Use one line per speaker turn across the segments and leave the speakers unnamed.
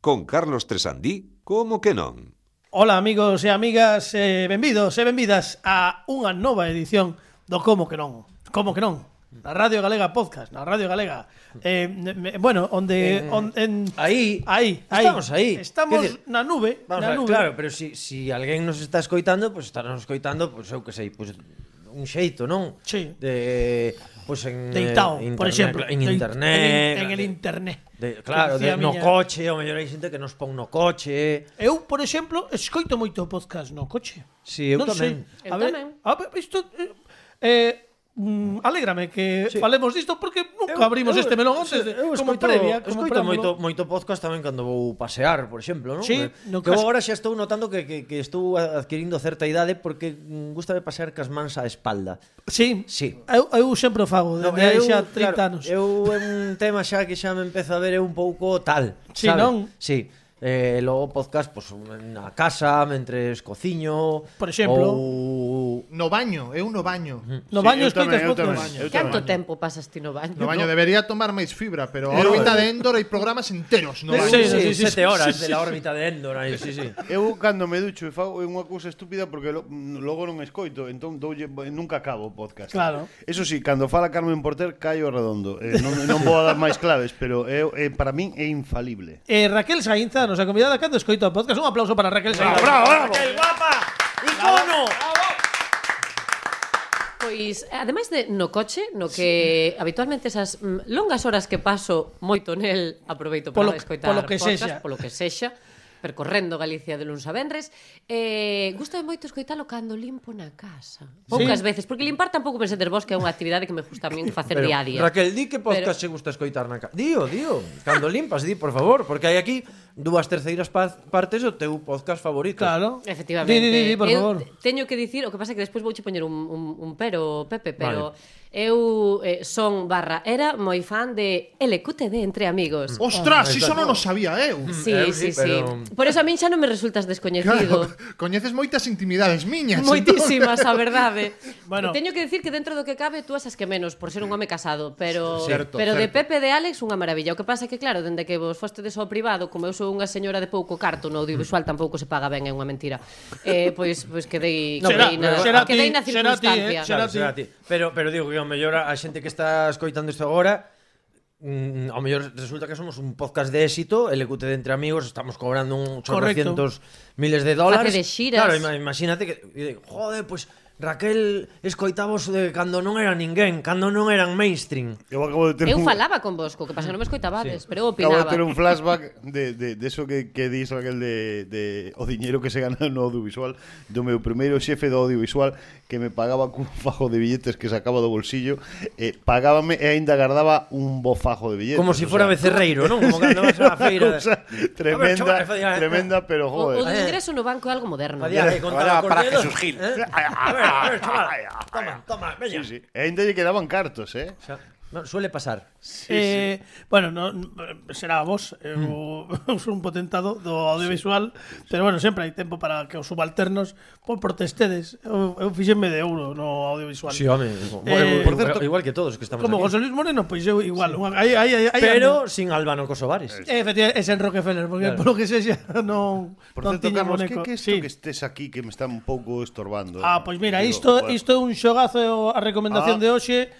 con Carlos Tresandí, como que non?
Ola amigos e amigas, eh, benvidos e benvidas a unha nova edición do Como que non. Como que non? Na Radio Galega Podcast, na Radio Galega. Eh, me, bueno, onde
Eh,
on, en
ahí.
aí, aí.
Estamos ahí.
Estamos
Quer dizer,
na nube,
Vamos
na
a ver,
nube.
claro, pero si, si alguén nos está escoitando, pois pues estarán escoitando, pois pues, eu que sei, pois pues, un xeito, non?
Sí.
De pois pues, en
Deitao,
eh, internet,
por exemplo,
en
de-
internet,
en, en el internet.
De, claro,
Que
de,
decía a
no
miña-
coche, ao mellor hai xente que nos pon no coche.
Eu, por exemplo, escoito moito podcast no coche.
Si, eu
non
tamén.
Sei. A
Eu
ver,
tamén.
a ver, isto eh, eh mm, alégrame que sí. falemos disto porque nunca
Eu-
abrimos
eu-
este melón antes de, como
eu escoito-
previa,
eu
como
escoito
preámbulo.
moito moito podcast tamén cando vou pasear, por exemplo, non?
Sí,
Eh,
no
que eu
caso-
agora xa estou notando que, que, que estou adquirindo certa idade porque mm, gustame pasear cas mans á espalda.
Sí.
Sí.
Eu, eu sempre o fago, desde hai xa 30 anos.
Eu é un tema xa que xa me empezo a ver eu un pouco tal,
Sí,
sabe?
non?
Sí. Eh, logo podcast, pois, na casa, mentres cociño...
Por exemplo.
Ou...
No baño, eu no baño.
No
Sí,
baño
eu tamén,
escoitas
eu tamén,
podcast.
eu
Canto
tamén.
tempo pasas ti no baño?
No baño debería tomar máis fibra, pero a
Eu-
órbita de Endor hai programas enteros no
eh. Sí,
baño.
sí, sí, sí, sí,
sete horas
sí,
de la órbita de Endor, aí, sí, sí.
Eu cando me ducho e fago é unha cousa estúpida porque lo, mm, logo non escoito, entón doulle nunca acabo o podcast.
Claro.
Eso sí, cando fala Carmen Porter caio redondo. Eh, non, non vou a dar máis claves, pero é, é para min é infalible.
Eh, Raquel Sainza, nosa convidada cando escoito o podcast. Un aplauso para Raquel
Ah,
Sainza.
Raquel, guapa! Icono!
Pois, ademais de no coche, no que sí. habitualmente esas mm, longas horas que paso moito nel aproveito para
Polo-
escoitar
polo que
podcast,
sexa.
polo que sexa, percorrendo Galicia de luns a vendres, eh, gusta moito escoitalo cando limpo na casa.
Sí.
Poucas sí. veces, porque limpar tampouco me sentes vos que é unha actividade que me gusta a min facer
Pero,
día a día.
Raquel, di que podcast se gusta escoitar na casa. Dío, dío. Cando limpas, di, por favor, porque hai aquí dúas terceiras pa- partes do teu podcast favorito.
Claro.
Efectivamente.
Di, di, di, por
eu
favor.
te- teño que dicir, o que pasa é que despois vouche poñer un, un, un pero, Pepe, pero vale. eu eh, son barra era moi fan de LQTD entre amigos.
Ostras,
Ah,
iso non o sabía eh. eu.
Sí,
Eh,
eu
sí,
sí,
sí.
pero-
Por eso a min xa non me resultas
Claro,
descoñecido.
coñeces moitas intimidades miñas.
Moitísimas, a verdade.
Bueno.
Bueno. Teño que decir que dentro do que cabe tú as as que menos por ser un home casado, pero
Certo,
pero de
certo.
Pepe e de Alex unha maravilla. O que pasa é que claro, dende que vos fostedes ao privado, como eu sou unha señora de pouco carto no audiovisual tampouco se paga ben, é unha mentira. Eh, pois pois quedei,
No,
quedei,
pero-
na,
será
ti,
quedei na
será ti, eh,
circunstancia.
será
Claro, será ti. Pero, pero digo que ao mellor a a xente que está escoitando isto agora mm, ao mellor resulta que somos un podcast de éxito, el EQT de entre amigos, estamos cobrando un 800 miles de dólares.
Face de xiras.
Claro, ima- imagínate que e digo, joder, pois pues, Raquel escoitábos de cando non era ninguén, cando non eran mainstream.
Eu acabo de ter
Eu
un
falaba con vos, co que pasa que non me escoitabades, sí. pero
Acabo
eu
de
opinaba.
ter un flashback de, de, de eso que, que dis Raquel de, de o diñeiro que se gana no audiovisual do meu primeiro xefe do audiovisual que me pagaba cun fajo de billetes que sacaba do bolsillo eh, pagábame e aínda guardaba un bo fajo de billetes
Como se si fora becerreiro, non? Como cando vas a unha feira.
o
A
sea,
ver,
tremenda,
chaval, eh,
tremenda pero
O, o do
joder
Eh.
ingreso no banco é algo moderno.
Podía que contaba
Ahora
con
para
dedos,
Jesús Gil.
¿eh? A ver, a ver, chaval. Toma, toma, veña.
sí, sí. e aínda lle quedaban cartos eh?
O sea, no, suele pasar.
eh, bueno, no, será vos,
Mm.
eu, eu sou un potentado do audiovisual, sí. pero bueno, sempre hai tempo para que os subalternos por protestedes. Eu, eu fixenme de euro no audiovisual.
Sí, home,
Eh,
por certo, igual que todos que estamos
Como
aquí.
José Luis Moreno, pois eu igual. Unha, aí, aí, aí, aí
pero sin Albano Kosovares.
ando. Eh, efectivamente, es en Rockefeller, porque
Claro.
claro. polo que sexa non
Por
non
certo,
tiña
Carlos, que,
boneco.
que isto
Sí.
que estés aquí que me está un pouco estorbando
Ah, pois mira, eh,
Digo,
isto
bueno.
isto é un xogazo é o- a recomendación
Ah.
de hoxe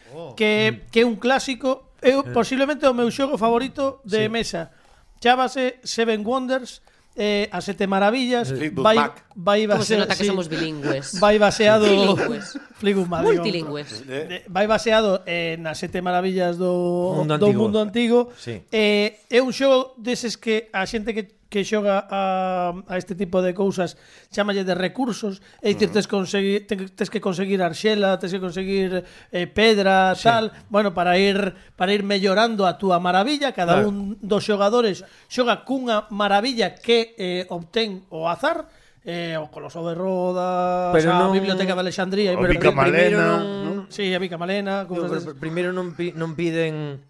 que que é un clásico, é o- posiblemente o meu xogo favorito de mesa. Chámase Seven Wonders, eh, as sete maravillas,
Fleetwood
vai
Mac.
vai
Como se
base-
nota que
sí.
somos bilingües.
Vai baseado
Multilingües.
Fleetwood Mac, digo.
Multilingües.
De- vai baseado eh, nas sete maravillas do
Mundo
do
antigo.
mundo antigo.
Sí.
Eh, é un xogo deses que a xente que que xoga a, a este tipo de cousas chamalle de recursos, é dicir, tes, conseguir, ten- tes que conseguir arxela, tes que conseguir eh, pedra, sí. tal, bueno, para ir para ir mellorando a túa maravilla, cada
Claro.
un dos xogadores xoga cunha maravilla que eh, obtén o azar, eh, o Coloso de Rodas,
Pero
a
non-
Biblioteca de Alexandría,
O
pero-
Pica
pri- primeiro
Malena,
non-
Sí, a Mica Malena,
Digo,
cousas desas.
pero primeiro non pi- non piden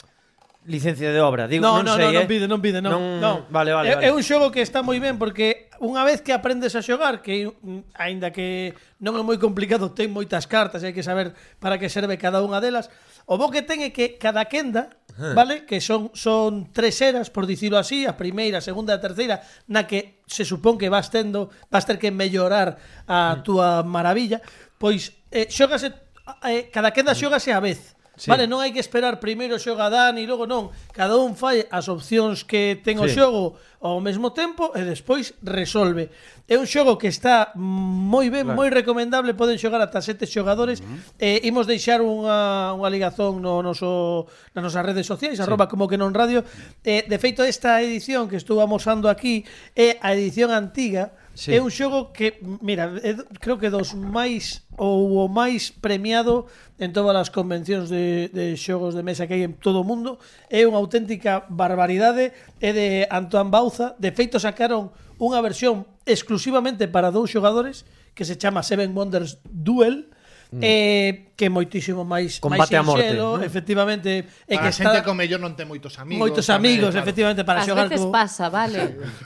licencia de obra, digo,
no,
non
no,
sei,
no, Eh, non
eh.
pide, non pide, non. non.
Vale, vale,
é,
vale.
é un xogo que está moi ben porque unha vez que aprendes a xogar, que mm, aínda que non é moi complicado, ten moitas cartas, e hai que saber para que serve cada unha delas. O bo que ten é que cada quenda vale? Que son son tres eras, por dicirlo así, a primeira, a segunda e a terceira, na que se supón que vas tendo, vas ter que mellorar a túa maravilla, pois eh, xógase eh, cada quenda xógase a vez.
Sí.
Vale, non hai que esperar primeiro xoga Dan e logo non. Cada un fai as opcións que ten o
Sí.
xogo ao mesmo tempo e despois resolve. É un xogo que está moi ben, moi recomendable, poden xogar ata sete xogadores. Eh, imos deixar unha, unha ligazón no noso, nas nosas redes sociais, arroba como que non radio. Eh, de feito, esta edición que estou amosando aquí é a edición antiga,
Sí.
É un xogo que, mira, é do- creo que dos máis ou o máis premiado en todas as convencións de, de xogos de mesa que hai en todo o mundo. É unha auténtica barbaridade. É de Antoine Bauza. De feito, sacaron unha versión exclusivamente para dous xogadores que se chama Seven Wonders Duel. Eh, que é moitísimo máis
Mm.
máis
Combate a morte,
sinxelo,
¿no?
efectivamente é que
Para a xente
está
con mellor non ten moitos amigos.
moitos
tamén,
amigos,
claro.
efectivamente para
As
xogar
veces
co-
pasa, vale.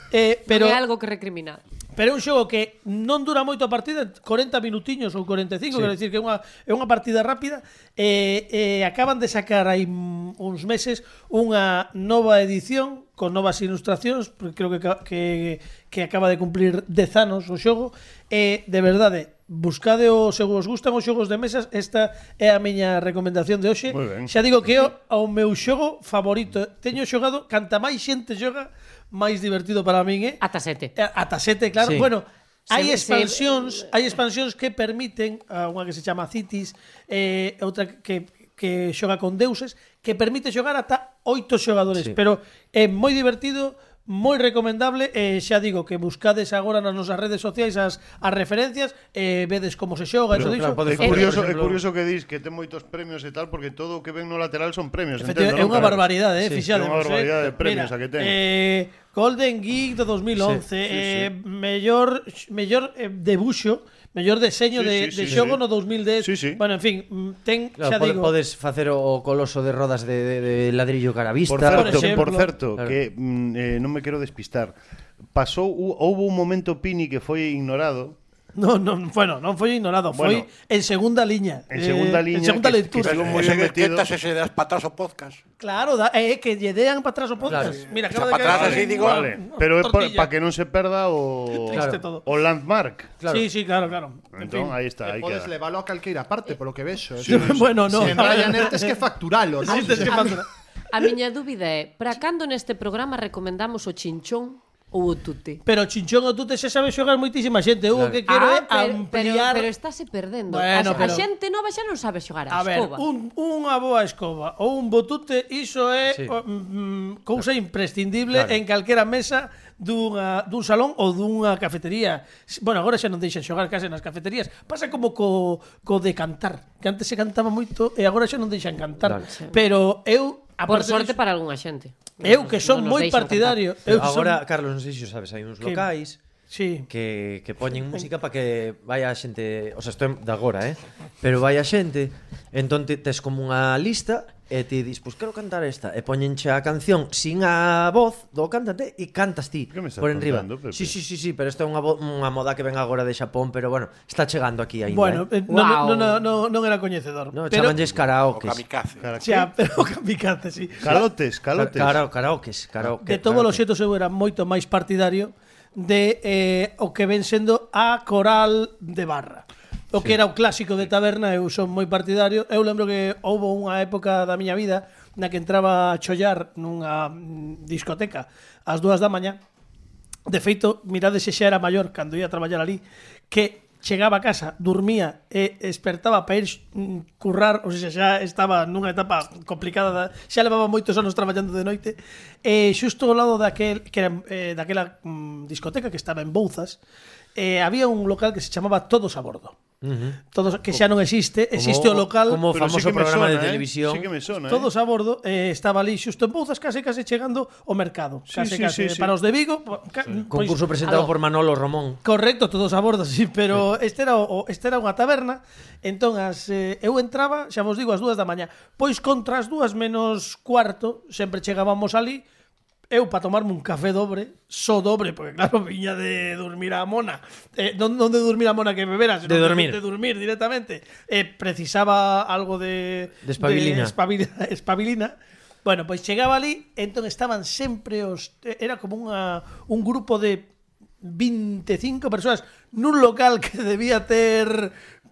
eh, pero
Pero é algo que recriminar.
Pero é un xogo que non dura moito a partida, 40 minutiños ou 45, sí. quero dicir que é unha, é unha partida rápida. E, e acaban de sacar hai mm, uns meses unha nova edición con novas ilustracións, porque creo que, ca- que, que acaba de cumplir 10 anos o xogo. E, de verdade, buscade o se vos gustan os xogos de mesas, esta é a miña recomendación de hoxe.
Moi ben.
Xa digo que é o, o meu xogo favorito. Teño xogado, canta máis xente xoga, máis divertido para min é.
Ata sete.
Eh, Ata sete, claro.
Sí.
Bueno, hai
Se-
expansións, hai expansións que permiten, a unha que se chama Cities, eh, outra que que xoga con deuses, que permite xogar ata oito xogadores,
Sí.
pero é moi divertido, moi recomendable, e xa digo que buscades agora nas nosas redes sociais as, as referencias, e vedes como se xoga, e
Pero,
todo iso.
claro, pode-
É
Por
curioso, é
exemplo-
curioso que dis que ten moitos premios e tal, porque todo o que ven no lateral son premios.
Efectivamente, é
entendo, non,
unha
Carlos?
barbaridade, eh,
Sí,
fixade.
é unha barbaridade de premios a que ten.
Eh, Golden Geek de 2011,
Sí, sí,
eh, mellor mellor eh, debuxo, mellor deseño
Sí,
de,
sí,
de
sí,
xogo
sí.
no 2010.
Sí, sí.
Bueno, en fin, mm, ten,
Claro,
xa
pode-
digo,
podes facer o coloso de rodas de, de, de ladrillo caravista.
Por certo,
Por exemplo.
por certo
Claro.
que mm, eh, non me quero despistar. Pasou, hu- houbo un momento Pini que foi ignorado
no, no, bueno, non foi ignorado, foi
Bueno.
en segunda liña.
En segunda liña,
En segunda
que- que
lectura.
sigo moi-
Ese que
metido.
quietas, ese das patas o podcast.
Claro, da, eh, que lle dean para atrás o podcast.
Claro.
Mira,
O
acaba
sea,
de
pa'
caer-
atrás así, digo,
Vale, pero é
tortilla.
para que non se perda o
Triste
Claro.
todo.
o landmark.
Claro.
Sí, sí, claro, claro. En
Entón,
fin.
aí está, aí
Que podes
queda.
levalo a calqueira parte, polo que vexo. eh.
bueno, no.
Se en Ryanair tes que facturalo, non?
Sí, tes que facturar.
A miña dúbida é, para cando neste programa recomendamos o chinchón ou o tute?
Pero Chinchón o Tute xa sabe xogar moitísima xente. Eu o que quero é
Ah, pero,
ampliar...
pero estase perdendo.
Bueno,
a,
pero-
a xente nova xa non sabe xogar a,
A ver,
escoba.
un, unha boa escoba ou un botute, iso é sí.
Sí.
mm, cousa imprescindible claro. en calquera mesa dunha, dun salón ou dunha cafetería. S- Bueno, agora xa non deixan xogar case nas cafeterías. Pasa como co, co de cantar, que antes se cantaba moito e agora xa non deixan cantar.
Claro.
Pero eu...
Por
aparte
sorte
diso-
para algunha xente.
Eu que son
Non nos
moi
deixan
partidario.
cantar.
Eu
Pero agora, Carlos, non sei se o sabes, hai uns
Que-
locais
Son... Sí.
que, que poñen música para que vaya a xente, o sea, estou de agora, eh? Pero vai a xente, entón te, tes como unha lista e ti dis, pois quero cantar esta, e poñenche a canción sin a voz do cantante e cantas ti
Que me estás
por enriba.
contando, Pepe?
Sí, sí, sí, sí, pero isto é unha, vo- unha moda que ven agora de Xapón, pero bueno, está chegando aquí aínda.
Bueno, eh,
eh?
non,
Guau.
non, non, non, non era coñecedor.
no,
pero,
chamanlles
O
karaoke.
kamikaze.
Cara-
xa, pero kamikaze, sí.
Calotes, calotes.
Karaoke, karaoke.
de todos os xetos eu era moito máis partidario de eh, o que ven sendo a coral de barra. O que era o clásico de taberna, eu son moi partidario. Eu lembro que houve unha época da miña vida na que entraba a chollar nunha mm, discoteca ás dúas da mañá De feito, mirade se xa era maior cando ia a traballar ali, que chegaba a casa, dormía e despertaba para ir mm, currar, ou seja, xa estaba nunha etapa complicada, da, xa levaba moitos anos traballando de noite, e xusto ao lado daquel, que era, eh, daquela mm, discoteca que estaba en Bouzas, eh, había un local que se chamaba Todos a Bordo. Uh -huh. Todos que xa non existe, existe o local
como o
Pero
famoso
sí que me
programa de
sona, eh.
televisión.
Sí que me sona. eh.
Todos a bordo, eh, estaba ali xusto en Bouzas, case case chegando ao mercado.
Sí,
Case,
sí,
case,
sí, sí.
para os de Vigo, ca, pois-
Concurso presentado
Aló.
por Manolo Romón.
Correcto, todos a bordo, sí, pero este era o, o- este era unha taberna, entón as eh, eu entraba, xa vos digo, as dúas da mañá. Pois contra as dúas menos cuarto, sempre chegábamos ali, eu para tomarme un café dobre, só dobre, porque claro, viña de dormir a mona. Eh, non, non de dormir a mona que bebera, sino
De dormir.
De, dormir directamente. Eh, precisaba algo de
De
de
espabilina.
espabili- espabilina Bueno, pois chegaba ali, entón estaban sempre os eh, era como unha un grupo de 25 persoas nun local que debía ter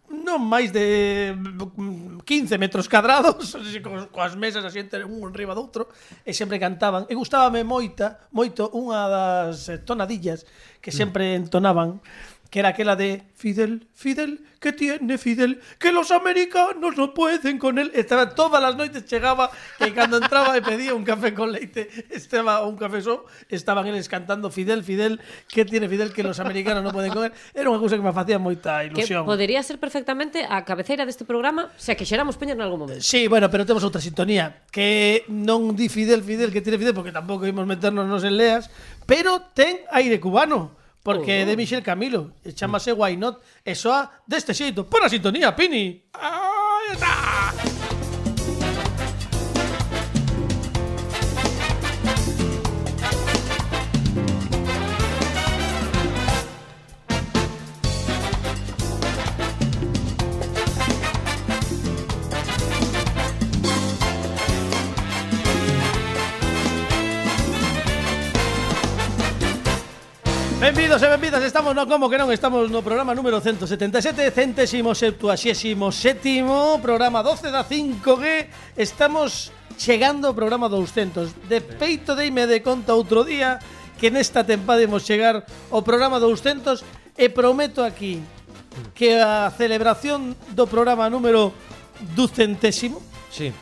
non máis de mm, 15 metros cadrados así, co- coas mesas así entre un riba do outro e sempre cantaban e gustábame moita moito unha das eh, tonadillas que sempre entonaban que era aquela de Fidel, Fidel, que tiene Fidel, que los americanos no pueden con él. Estaba todas las noches, llegaba, que cuando entraba y pedía un café con leite, estaba o un café só, estaban eles cantando Fidel, Fidel, que tiene Fidel, que los americanos no pueden con él. Era unha cousa que me facía moita
Que
ilusión.
podería ser perfectamente a cabeceira deste programa se a que xeramos peña en algún momento.
Sí, bueno, pero temos outra sintonía que non di Fidel Fidel que tiene Fidel porque tampouco imos meternos nos en leas, pero ten aire cubano porque é de Michel Camilo, e chamase Why Not, e soa deste xeito. Pon a sintonía, Pini. Aí está. Benvidos e benvidas, estamos no como que non Estamos no programa número 177 Centésimo septuaxésimo sétimo Programa 12 da 5G Estamos chegando ao programa 200 De peito deime de conta outro día Que nesta tempada imos chegar ao programa 200 E prometo aquí Que a celebración do programa número ducentésimo
Sí.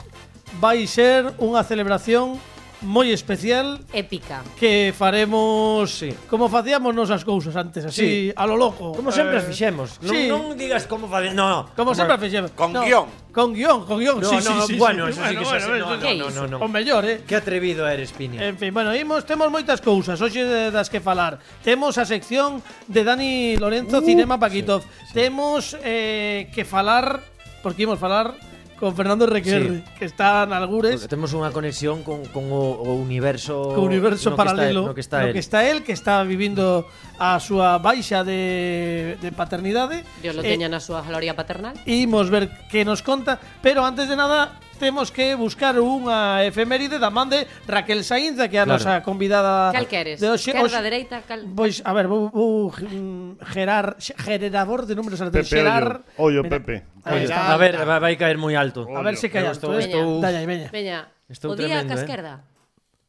Vai ser unha celebración moi especial
Épica.
que faremos
Sí.
como facíamos nos as cousas antes, así,
Sí.
a lo loco.
Como
Eh,
sempre as fixemos. Non,
sí.
non digas como facer, no, no.
Como sempre as fixemos.
Con guión.
Con guión, con guión.
No,
sí,
no,
sí, sí,
bueno,
sí.
eso sí que xa sei, no,
eso-
¿Qué
no,
hizo?
no, no,
O mellor, eh.
Que atrevido eres, Pini.
En fin, bueno, imos, temos moitas cousas hoxe de- das que falar. Temos a sección de Dani Lorenzo
Uh,
Cinema Paquitov. Temos eh, que falar, porque imos falar con Fernando Requerre,
Sí.
que está en
Porque
Algures.
temos unha conexión con, con o, o universo
co universo
no
paralelo
que está, no que está él.
el, que está vivindo a súa baixa de, de paternidade
Dios lo
Eh,
teña na súa gloria paternal.
Imos ver que nos conta, pero antes de nada temos que buscar unha efeméride da man de Raquel Sainza, que é a
Claro.
nosa convidada
Cal queres?
Ah, de hoxe.
Esquerda, dereita, cal-
Pois, a ver, vou, vou mm, gerar, generador de números artes.
Pepe,
Gerar...
ollo, ollo,
Mira,
Pepe.
Aí
Ollo.
está.
A ver, vai, vai caer moi alto.
A ver se
Pero
callas.
estou-
eh.
estou-
Dalla, aí, veña.
Veña,
Estou
o día
tremendo,
ca
eh.
esquerda.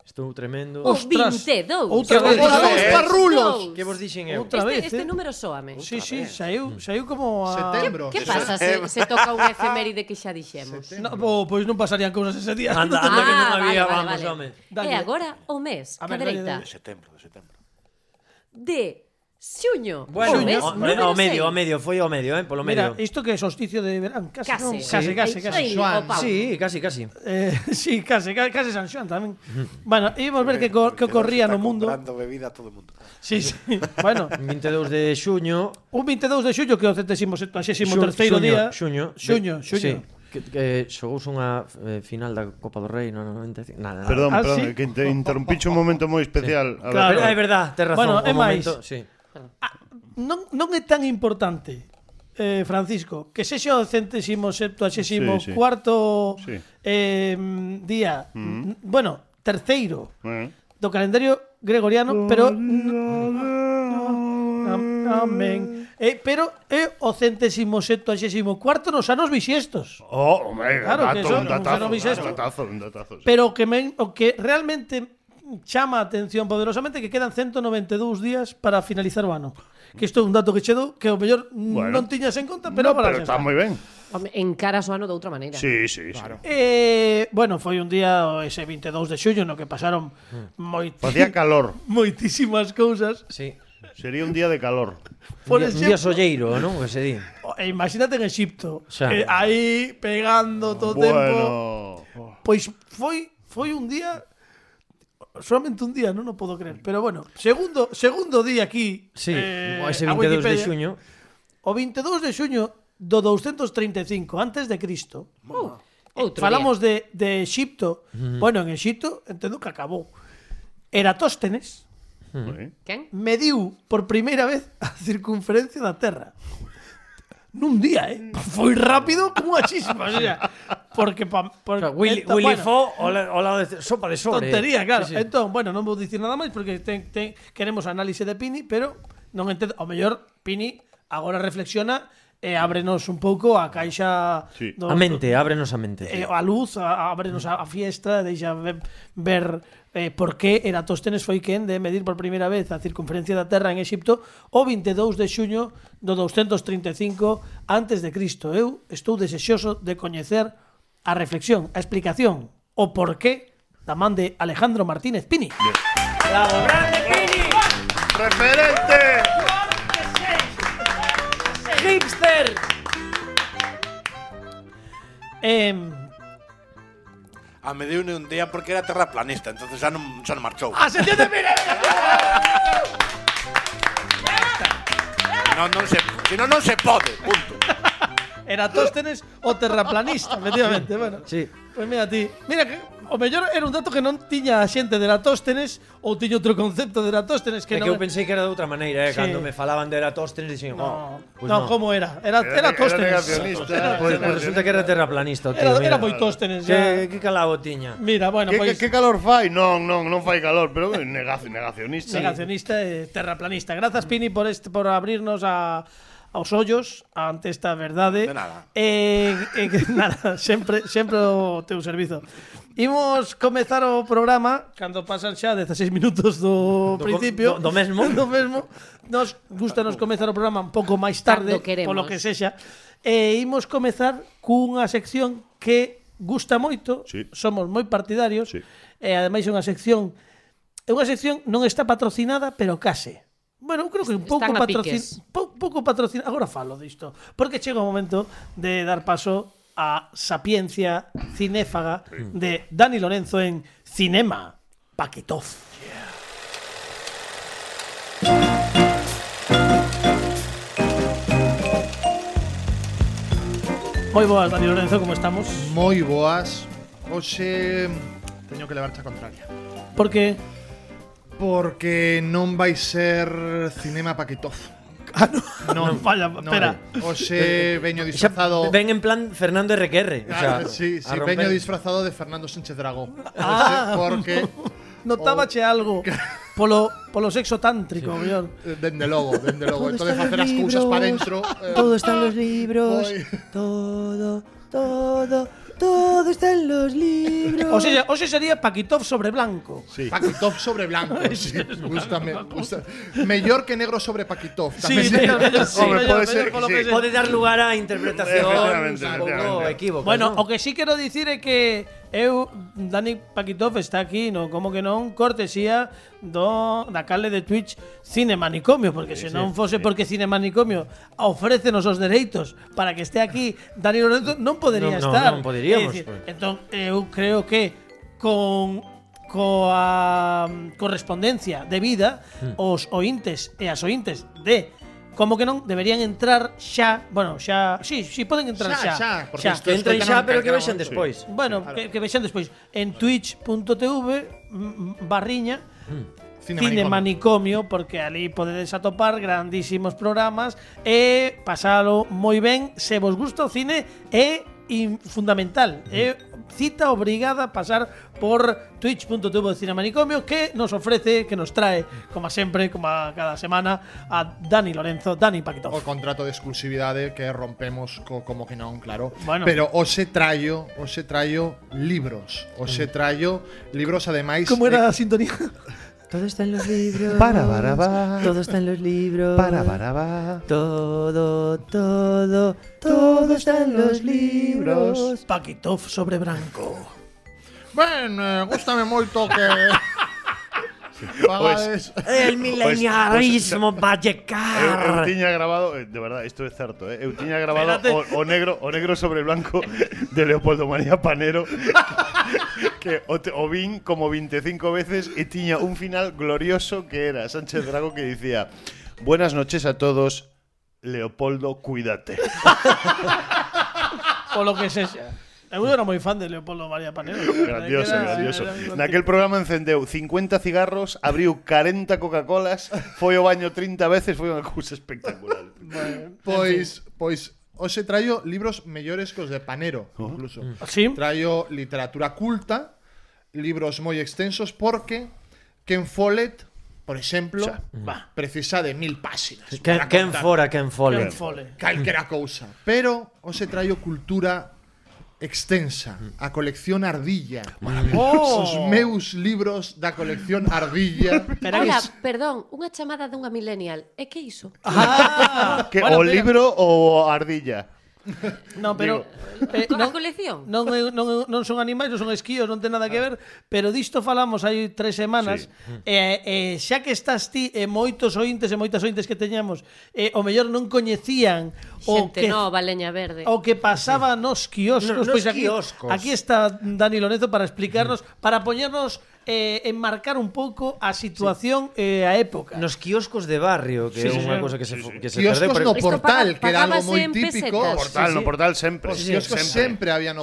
Estou tremendo.
O
Ostras.
22.
Outra vez.
Voladores
Eh,
parrulos.
dous.
Que vos dixen eu?
Outra
este,
vez,
este
eh.
número soame.
Sí, sí, saiu, saiu como a...
Setembro.
Que pasa se, se toca unha efeméride que xa dixemos?
No, bo, pois non pasarían cousas ese día.
Anda, anda Ah, que
Ah,
non había, vamos, home.
E
Dalle.
agora Eh, o mes,
A
a
ver,
dereita,
De setembro, de setembro.
de xuño.
Bueno,
o mes,
ao,
número
ao medio, ao
seis.
medio, foi ao medio, eh, polo
Mira,
medio.
isto que é solsticio de verán, casi,
Case.
non?
Sí.
case, case, case.
Ei,
Xoan.
o Pau.
Sí, casi, casi.
Eh, sí, case, case, case San Xoan tamén. bueno, íbamos ver que, co- que ocorría no mundo.
Comprando bebida a todo o mundo.
Sí, sí. Bueno,
22 de xuño.
un 22 de xullo que é o 73º
xu-
terceiro
xuño,
día.
Xuño.
Xuño,
de-
xuño.
Sí, que, que xogouse unha eh, final da Copa do Rei no 95. Nada, nada.
Perdón,
Ah,
perdón,
sí.
que inter interrumpiche un momento moi especial. A ver,
Claro.
Pero Ah, é verdad, tes razón.
Bueno,
o
é máis.
momento, sí.
Non, non é tan importante, eh, Francisco, que sexa o centésimo, septuaxésimo,
Sí, sí.
cuarto
Sí. Mm.
eh, día, n- bueno, terceiro
eh.
do calendario gregoriano, pero Am- Amén. Eh, pero é o centésimo septuaxésimo cuarto nos anos bisiestos.
Oh, hombre,
Claro que
dato,
eso,
un
un
datazo,
xerobisesto.
un datazo, un datazo. sí.
Pero o que men, o que realmente chama a atención poderosamente é que quedan 192 días para finalizar o ano. Que isto é un dato que chedo que o mellor
Bueno.
non tiñas en conta, pero
No,
agora
pero
xa
está moi ben.
Home, encara o ano de outra maneira.
Sí, sí, sí.
Eh, bueno, foi un día o ese 22 de xullo no que pasaron moiti-
Facía Pues calor.
moitísimas cousas.
Sí.
Sería un día de calor.
Por
un, día, un día solleiro, non? Que se di.
E Imagínate en Exipto,
Xa.
eh, aí pegando todo o tempo.
Bueno.
Pois foi foi un día solamente un día, non o podo creer, pero bueno, segundo segundo día aquí,
Sí,
eh,
ese
a
22 de
Wikipedia,
xuño.
O 22 de xuño do 235 antes de Cristo.
Oh, outro
Falamos de, de Exipto. Bueno, en Exipto entendo que acabou. Eratóstenes
Sí.
día. Quen?
mediu por primeira vez a circunferencia da Terra. nun día, eh? Foi rápido como a chispa, o sea, porque pa,
O
por,
sea, Willy,
entón,
Willy
bueno,
Fo ao la- ao lado de sopa de sobre.
tontería, claro.
Sí, sí.
Entón, bueno, non vou dicir nada máis porque ten, ten, queremos análise de Pini, pero non entendo, ao mellor Pini agora reflexiona e ábrenos un pouco a caixa
Sí.
A mente, ábrenos a mente.
eh, a luz, a, ábrenos a, a fiesta, deixa ve- ver eh, por que Eratóstenes foi quen de medir por primeira vez a circunferencia da Terra en Exipto o 22 de xuño do 235 antes de Cristo. Eu estou desexoso de coñecer a reflexión, a explicación, o por que da man de Alejandro Martínez Pini.
¡Referente!
Hipster.
Em,
A me deu un día porque era terraplanista, entonces xa non, xa non marchou.
A
Ah.
sección de Pini.
Non, non se, si non, non se pode, punto.
Eratóstenes o terraplanista, efectivamente, bueno.
Sí.
Pois Pues mira ti, mira que o mellor era un dato que non tiña a xente de Eratóstenes ou tiña outro concepto de Eratóstenes que
É que
non
eu pensei que era de outra maneira, eh?
Sí.
Cando me falaban de Eratóstenes, dixen,
No,
oh, pues
no,
no.
como era? Era
Era-
era
era
Tóstenes.
negacionista.
Era-
Pues, pues resulta que era terraplanista, o tío.
Era,
mira.
era moi Tóstenes,
Que,
ya.
que calado tiña.
Mira, bueno, pues pois
Que, que, que calor fai? Non, non, non fai calor, pero é negacio, negacionista.
negacionista e terraplanista. Grazas Pini por este por abrirnos a aos ollos ante esta verdade.
De nada.
E, e que nada, sempre sempre o teu servizo. Imos comezar o programa cando pasan xa 16 minutos do,
Do co-
principio.
do- do mesmo.
do mesmo. Nos gusta nos comezar o programa un pouco máis tarde,
Cando queremos.
polo que sexa. E imos comezar cunha sección que gusta moito,
Sí.
somos moi partidarios,
Sí.
e ademais é unha sección É unha sección non está patrocinada, pero case. Bueno, eu creo que un pouco
Están a
patrocin
piques.
pou- pouco patrocin agora falo disto, porque chega o momento de dar paso á sapiencia cinéfaga de Dani Lorenzo en Cinema Paquetov. Moi boas, Dani Lorenzo, como estamos?
Moi boas. Oxe, teño que levarche a contraria.
Porque
Porque non vai ser cinema Paquetov.
ah, no, non, falla,
Non
espera.
é.
Eh,
Oxe, veño disfrazado.
Ven en plan Fernando RQR. O sea,
Ah, sí, sí,
a romper.
veño disfrazado de Fernando Sánchez Dragó.
Ah,
Oxe, porque
Notábache algo polo, polo sexo tántrico, mellor.
eh, dende logo, dende logo, entón facer as cousas para dentro. eh,
están los libros.
Voy.
Todo, todo, todo está en los libros.
O sea, o sea, sería Paquitov sobre blanco.
Sí.
Paquitov sobre blanco, sí, gústame, gusta. Mellor que negro sobre Paquitov.
Sí,
tamén.
sí, mellor, sí,
Hombre,
mellor, mellor
puede ser
polo
que
que
sí.
sea.
Pode dar lugar a interpretación
Efectivamente,
un pouco
efectivamente.
equívocas.
Bueno,
¿no?
o que sí quero dicir é que eu Dani Paquitov está aquí, no como que non cortesía do da cale de Twitch Cine Manicomio, porque se non fose porque Cine Manicomio ofrécenos os dereitos para que este aquí Dani Lorenzo non podería
Non, non,
estar.
non poderíamos,
É dicir,
pois.
Entón, eu creo que con coa mm, correspondencia debida os ointes e as ointes de como que non deberían entrar xa, bueno, xa, si, sí, si sí, poden entrar xa.
Xa, xa, porque isto
que
es
entren xa,
canal-
pero que
canal-
vexan despois.
Bueno, que, que vexan despois en twitch.tv mm, barriña
Cine
Cine
manicomio.
Manicomio porque ali podedes atopar grandísimos programas e pasalo moi ben se vos gusta o cine é in- fundamental é cita obrigada a pasar por twitch.tv de Cine Manicomio que nos ofrece, que nos trae como sempre, como a cada semana a Dani Lorenzo, Dani
o
Paquetov
contrato de exclusividade que rompemos co, como que non, claro.
Bueno.
Pero o se traio, o se traio libros, o se traio libros eh, ademais
Como Mm. era a sintonía?
Todo está en los libros.
Para, para, va.
Todo está en los libros.
Para, para, va.
Todo, todo, todo está en los libros.
Paquitov sobre branco
Ben, eh, gústame moito que Pagades
Pues,
El milenialismo va a
Eu, eu
llegar.
tiña grabado, eh, de verdad, isto é certo, eh? eu tiña grabado
Espérate.
o, o, negro o negro sobre blanco de Leopoldo María Panero que o, te- o vin como 25 veces e tiña un final glorioso que era Sánchez Drago que dicía Buenas noches a todos, Leopoldo, cuídate. eh,
Polo que sexa Eu era moi fan de Leopoldo María Panero
Grandioso,
Era-
grandioso.
era un
Naquel programa encendeu 50 cigarros, abriu 40
Pues,
Coca-Colas, foi ao baño 30 veces, foi unha cousa espectacular.
pois pois Hoxe traio libros mellores que os de Panero,
Ah.
incluso.
Sí.
Traio literatura culta, libros moi extensos, porque Ken Follett, por exemplo, va, precisa de mil páxinas.
Quen,
para
quen
contar
fora, quen fole.
Ken Follett.
Calquera cousa. Pero hoxe traio cultura extensa, a colección Ardilla. Os meus libros da colección Ardilla.
Pero
Hola,
es- Ah,
perdón, unha chamada dunha millennial. E que iso?
Ah, Que
Bueno,
o
pero-
libro ou ardilla.
No, pero eh,
Con
non-
a colección?
non, é- non, é- non son animais, non son esquíos, non ten nada
Ah.
que ver, pero disto falamos hai tres semanas, e, e xa que estás ti e moitos ointes e moitas ointes que teñamos, e, o mellor non coñecían o que
Xente nova, leña verde.
o que pasaba nos quioscos,
No- nos
pois Pues aquí,
quioscos.
aquí está Dani Lorenzo para explicarnos, para poñernos eh, enmarcar un pouco a situación e eh, a época.
Nos quioscos de barrio,
Sí,
que é
sí, sí.
unha cousa que se, que se perdeu.
Kioscos no
Isto
portal,
paga-
que era algo
pagábase
moi
en
típico. Portal,
pesetas. Sí,
Portal,
sí.
no portal sempre.
Os kioscos sempre había no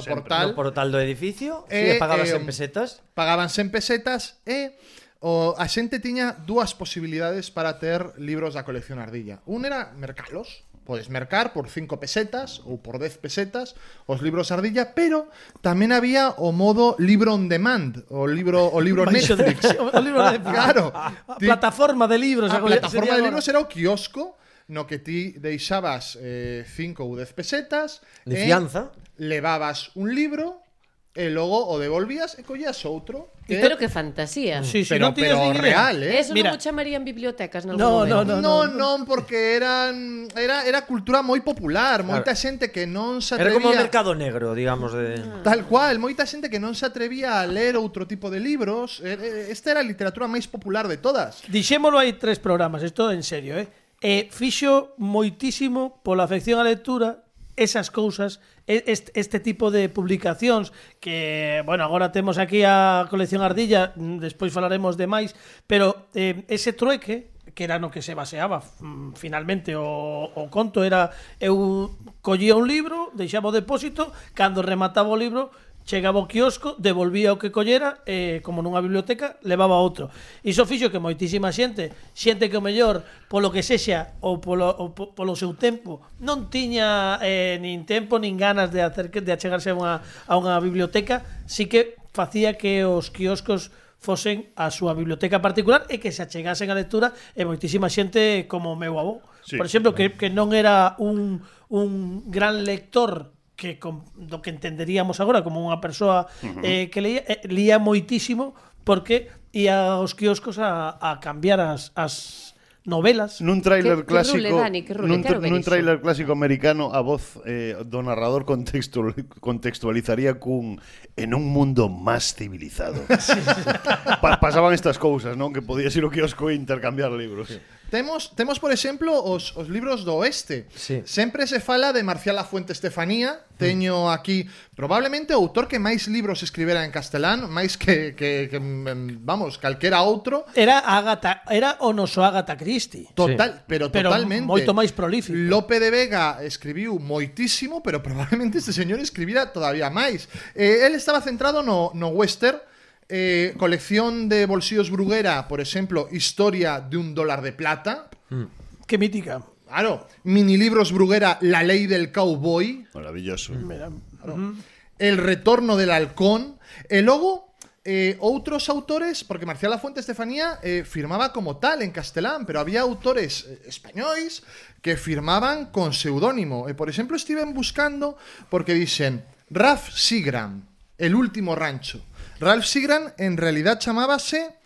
No
portal.
portal do edificio, e
Eh,
pagabas
eh,
en pesetas.
Pagabanse en pesetas e o, a xente tiña dúas posibilidades para ter libros da colección Ardilla. Un era mercalos, podes mercar por 5 pesetas ou por 10 pesetas os libros Ardilla, pero tamén había o modo libro on demand, o libro o libro
Baixo de-
Netflix.
o libro de
Claro.
A
Ti-
plataforma de libros,
A
como sería
Ah, plataforma de
agora.
libros era o quiosco no que ti deixabas 5 ou 10 pesetas
De
e
fianza.
levabas un libro e logo o devolvías e collías outro que-
Pero que fantasía.
Sí, sí,
pero,
non tiñas
pero
nin idea.
real, eh?
Eso
Mira.
non o chamarían bibliotecas nalgún
No, no,
momento.
no,
No, non, porque eran era era cultura moi popular, moita xente que non se
Era como o
atrevía
mercado negro, digamos, de...
Tal cual, moita xente que non se atrevía a ler outro tipo de libros. Eh, eh, Esta era a literatura máis popular de todas.
Dixémolo hai tres programas, isto en serio, eh? E fixo moitísimo pola afección á lectura esas cousas, e- est- este tipo de publicacións que, bueno, agora temos aquí a colección Ardilla, mm, despois falaremos de máis, pero eh, ese trueque que era no que se baseaba mm, finalmente o, o conto era eu collía un libro, deixaba o depósito, cando remataba o libro chegaba ao kiosco, devolvía o que collera e, como nunha biblioteca, levaba outro. Iso fixo que moitísima xente, xente que o mellor, polo que sexa ou polo, ou po- polo seu tempo, non tiña eh, nin tempo nin ganas de hacer, de achegarse a unha, a unha biblioteca, si que facía que os kioscos fosen a súa biblioteca particular e que se achegasen a lectura e moitísima xente como o meu avó. Sí.
Sí.
Por exemplo, que, que non era un, un gran lector que com, do que entenderíamos agora como unha persoa eh, que leía, eh, lía moitísimo porque ia aos quioscos a, a cambiar as, as novelas.
Nun trailer
Que- que
clásico,
rule, Dani, que rule,
nun,
quero ver
nun
iso.
trailer clásico americano a voz eh, do narrador contextu, contextualizaría cun en un mundo máis civilizado. pa pasaban estas cousas, non? Que podías ir ao kiosco e intercambiar libros.
Temos, temos por exemplo, os, os libros do oeste.
Sí.
Sempre se fala de Marcial Lafuente Estefanía. Teño aquí probablemente o autor que máis libros escribera en castelán, máis que, que, que mm, vamos, calquera outro.
Era Agatha, era o noso Agatha Christie.
Total, pero,
Pero
totalmente.
moito máis prolífico.
Lope de Vega escribiu moitísimo, pero probablemente este señor escribira todavía máis. Eh, él estaba centrado no, no western, eh, colección de bolsillos Bruguera, por exemplo, Historia de un dólar de plata.
Que mítica.
Claro, minilibros Bruguera, La ley del cowboy,
Maravilloso.
El retorno del halcón, e logo eh, outros autores, porque Marcial Lafuente Estefanía eh, firmaba como tal en castelán, pero había autores eh, españois que firmaban con seudónimo. E, por exemplo, estiven buscando porque dixen Ralph Sigram, El último rancho. Ralph Sigram en realidad chamábase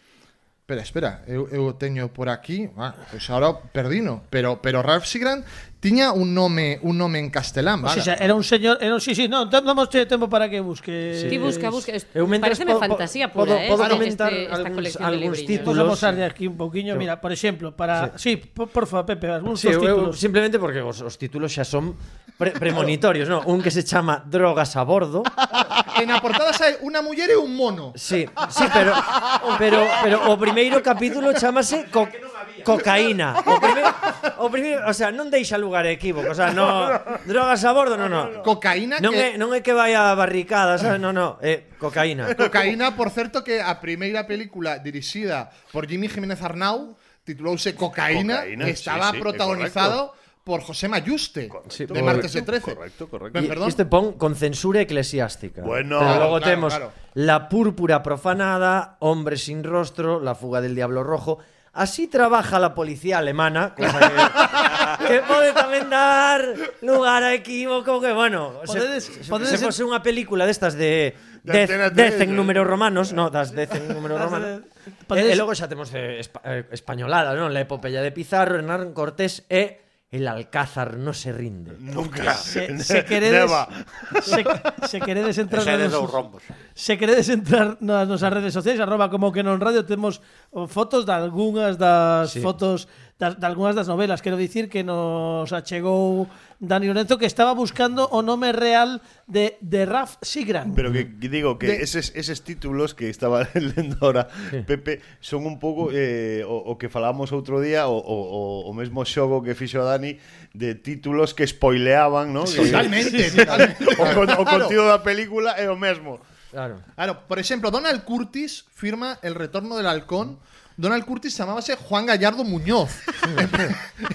Espera, espera, eu, eu o teño por aquí, ah, pois agora o perdino, pero pero Ralph Sigram tiña un nome, un nome en castelán,
O
vale.
sea, era un señor, era un, sí, sí, non, tam- damos tempo para que busque.
Ti busca, busca.
Eu mentres
Pareceme
po- po-
fantasía
podo-
pura, eh,
podo
este-
comentar
este- esta
algúns-
colección
algúns
de libriños.
Vamos
títulos.
a mostrar aquí un pouquiño, mira, por exemplo, para sí, por, porfa, Pepe, algúns
Sí,
dos
eu, eu
títulos.
simplemente porque os, os títulos xa son pre premonitorios, non? Un que se chama Drogas a bordo.
En a portada sai unha muller e un mono.
Sí, sí, pero pero pero o primeiro capítulo chamase co cocaína. O primeiro, o primeiro, o sea, non deixa lugar a equívoco, o sea, no drogas a bordo, non, non.
Cocaína
Non é
que
non é que vai a barricada, sabes? Non, non, é cocaína.
Cocaína, por certo, que a primeira película dirixida por Jimmy Jiménez Arnau titulouse Cocaína,
Cocaína,
que estaba
sí, sí, é
protagonizado por José Mayuste, de
Correcto, correcto,
martes de 13.
correcto, correcto.
Pe-
Y
Perdón.
Este pon con censura eclesiástica.
Bueno.
Pero
Claro,
luego
claro,
temos
claro.
La púrpura profanada, Hombre sin rostro, La fuga del diablo rojo. Así trabaja la policía alemana, cosa que, que pode tamén dar lugar a equívoco que, bueno,
Podedes-
se,
podedes-
se fose unha película destas de,
De
dez,
Antena
dez
tres,
en
eh.
números romanos, no, das dez en números romanos,
Podedes-
e, e logo xa temos eh, espa, eh, españolada, non? La epopeya de Pizarro, Hernán Cortés e El Alcázar no se rinde.
Nunca.
Se, se queredes
Neva.
se, se queredes entrar
Ese é de
nas
dous
nosas-
rombos.
Se queredes entrar nas nosas redes sociais, arroba como que non radio, temos oh, fotos de algunhas das
Sí.
fotos das, de algunhas das novelas. Quero dicir que nos achegou Dani Lorenzo que estaba buscando o nome real de, de Raf Sigran.
Pero que que digo que
De-
eses, eses títulos que estaba lendo ahora Pepe son un pouco eh, o, o que falamos outro día o, o, o, o mesmo xogo que fixo a Dani de títulos que spoileaban, ¿no? Que-
Totalmente, totalmente.
O, con, o
Claro.
contido da película é o mesmo.
Claro.
Claro, por ejemplo, Donald Curtis firma El Retorno del Halcón. Donald Curtis llamábase Juan Gallardo Muñoz.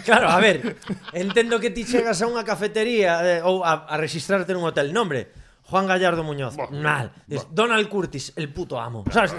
Claro, a ver, entendo que ti chegas a unha cafetería eh, ou a, a registrarte nun hotel. Nombre, Juan Gallardo Muñoz. Mal. Dices, Donald Curtis, el puto amo. Sabes?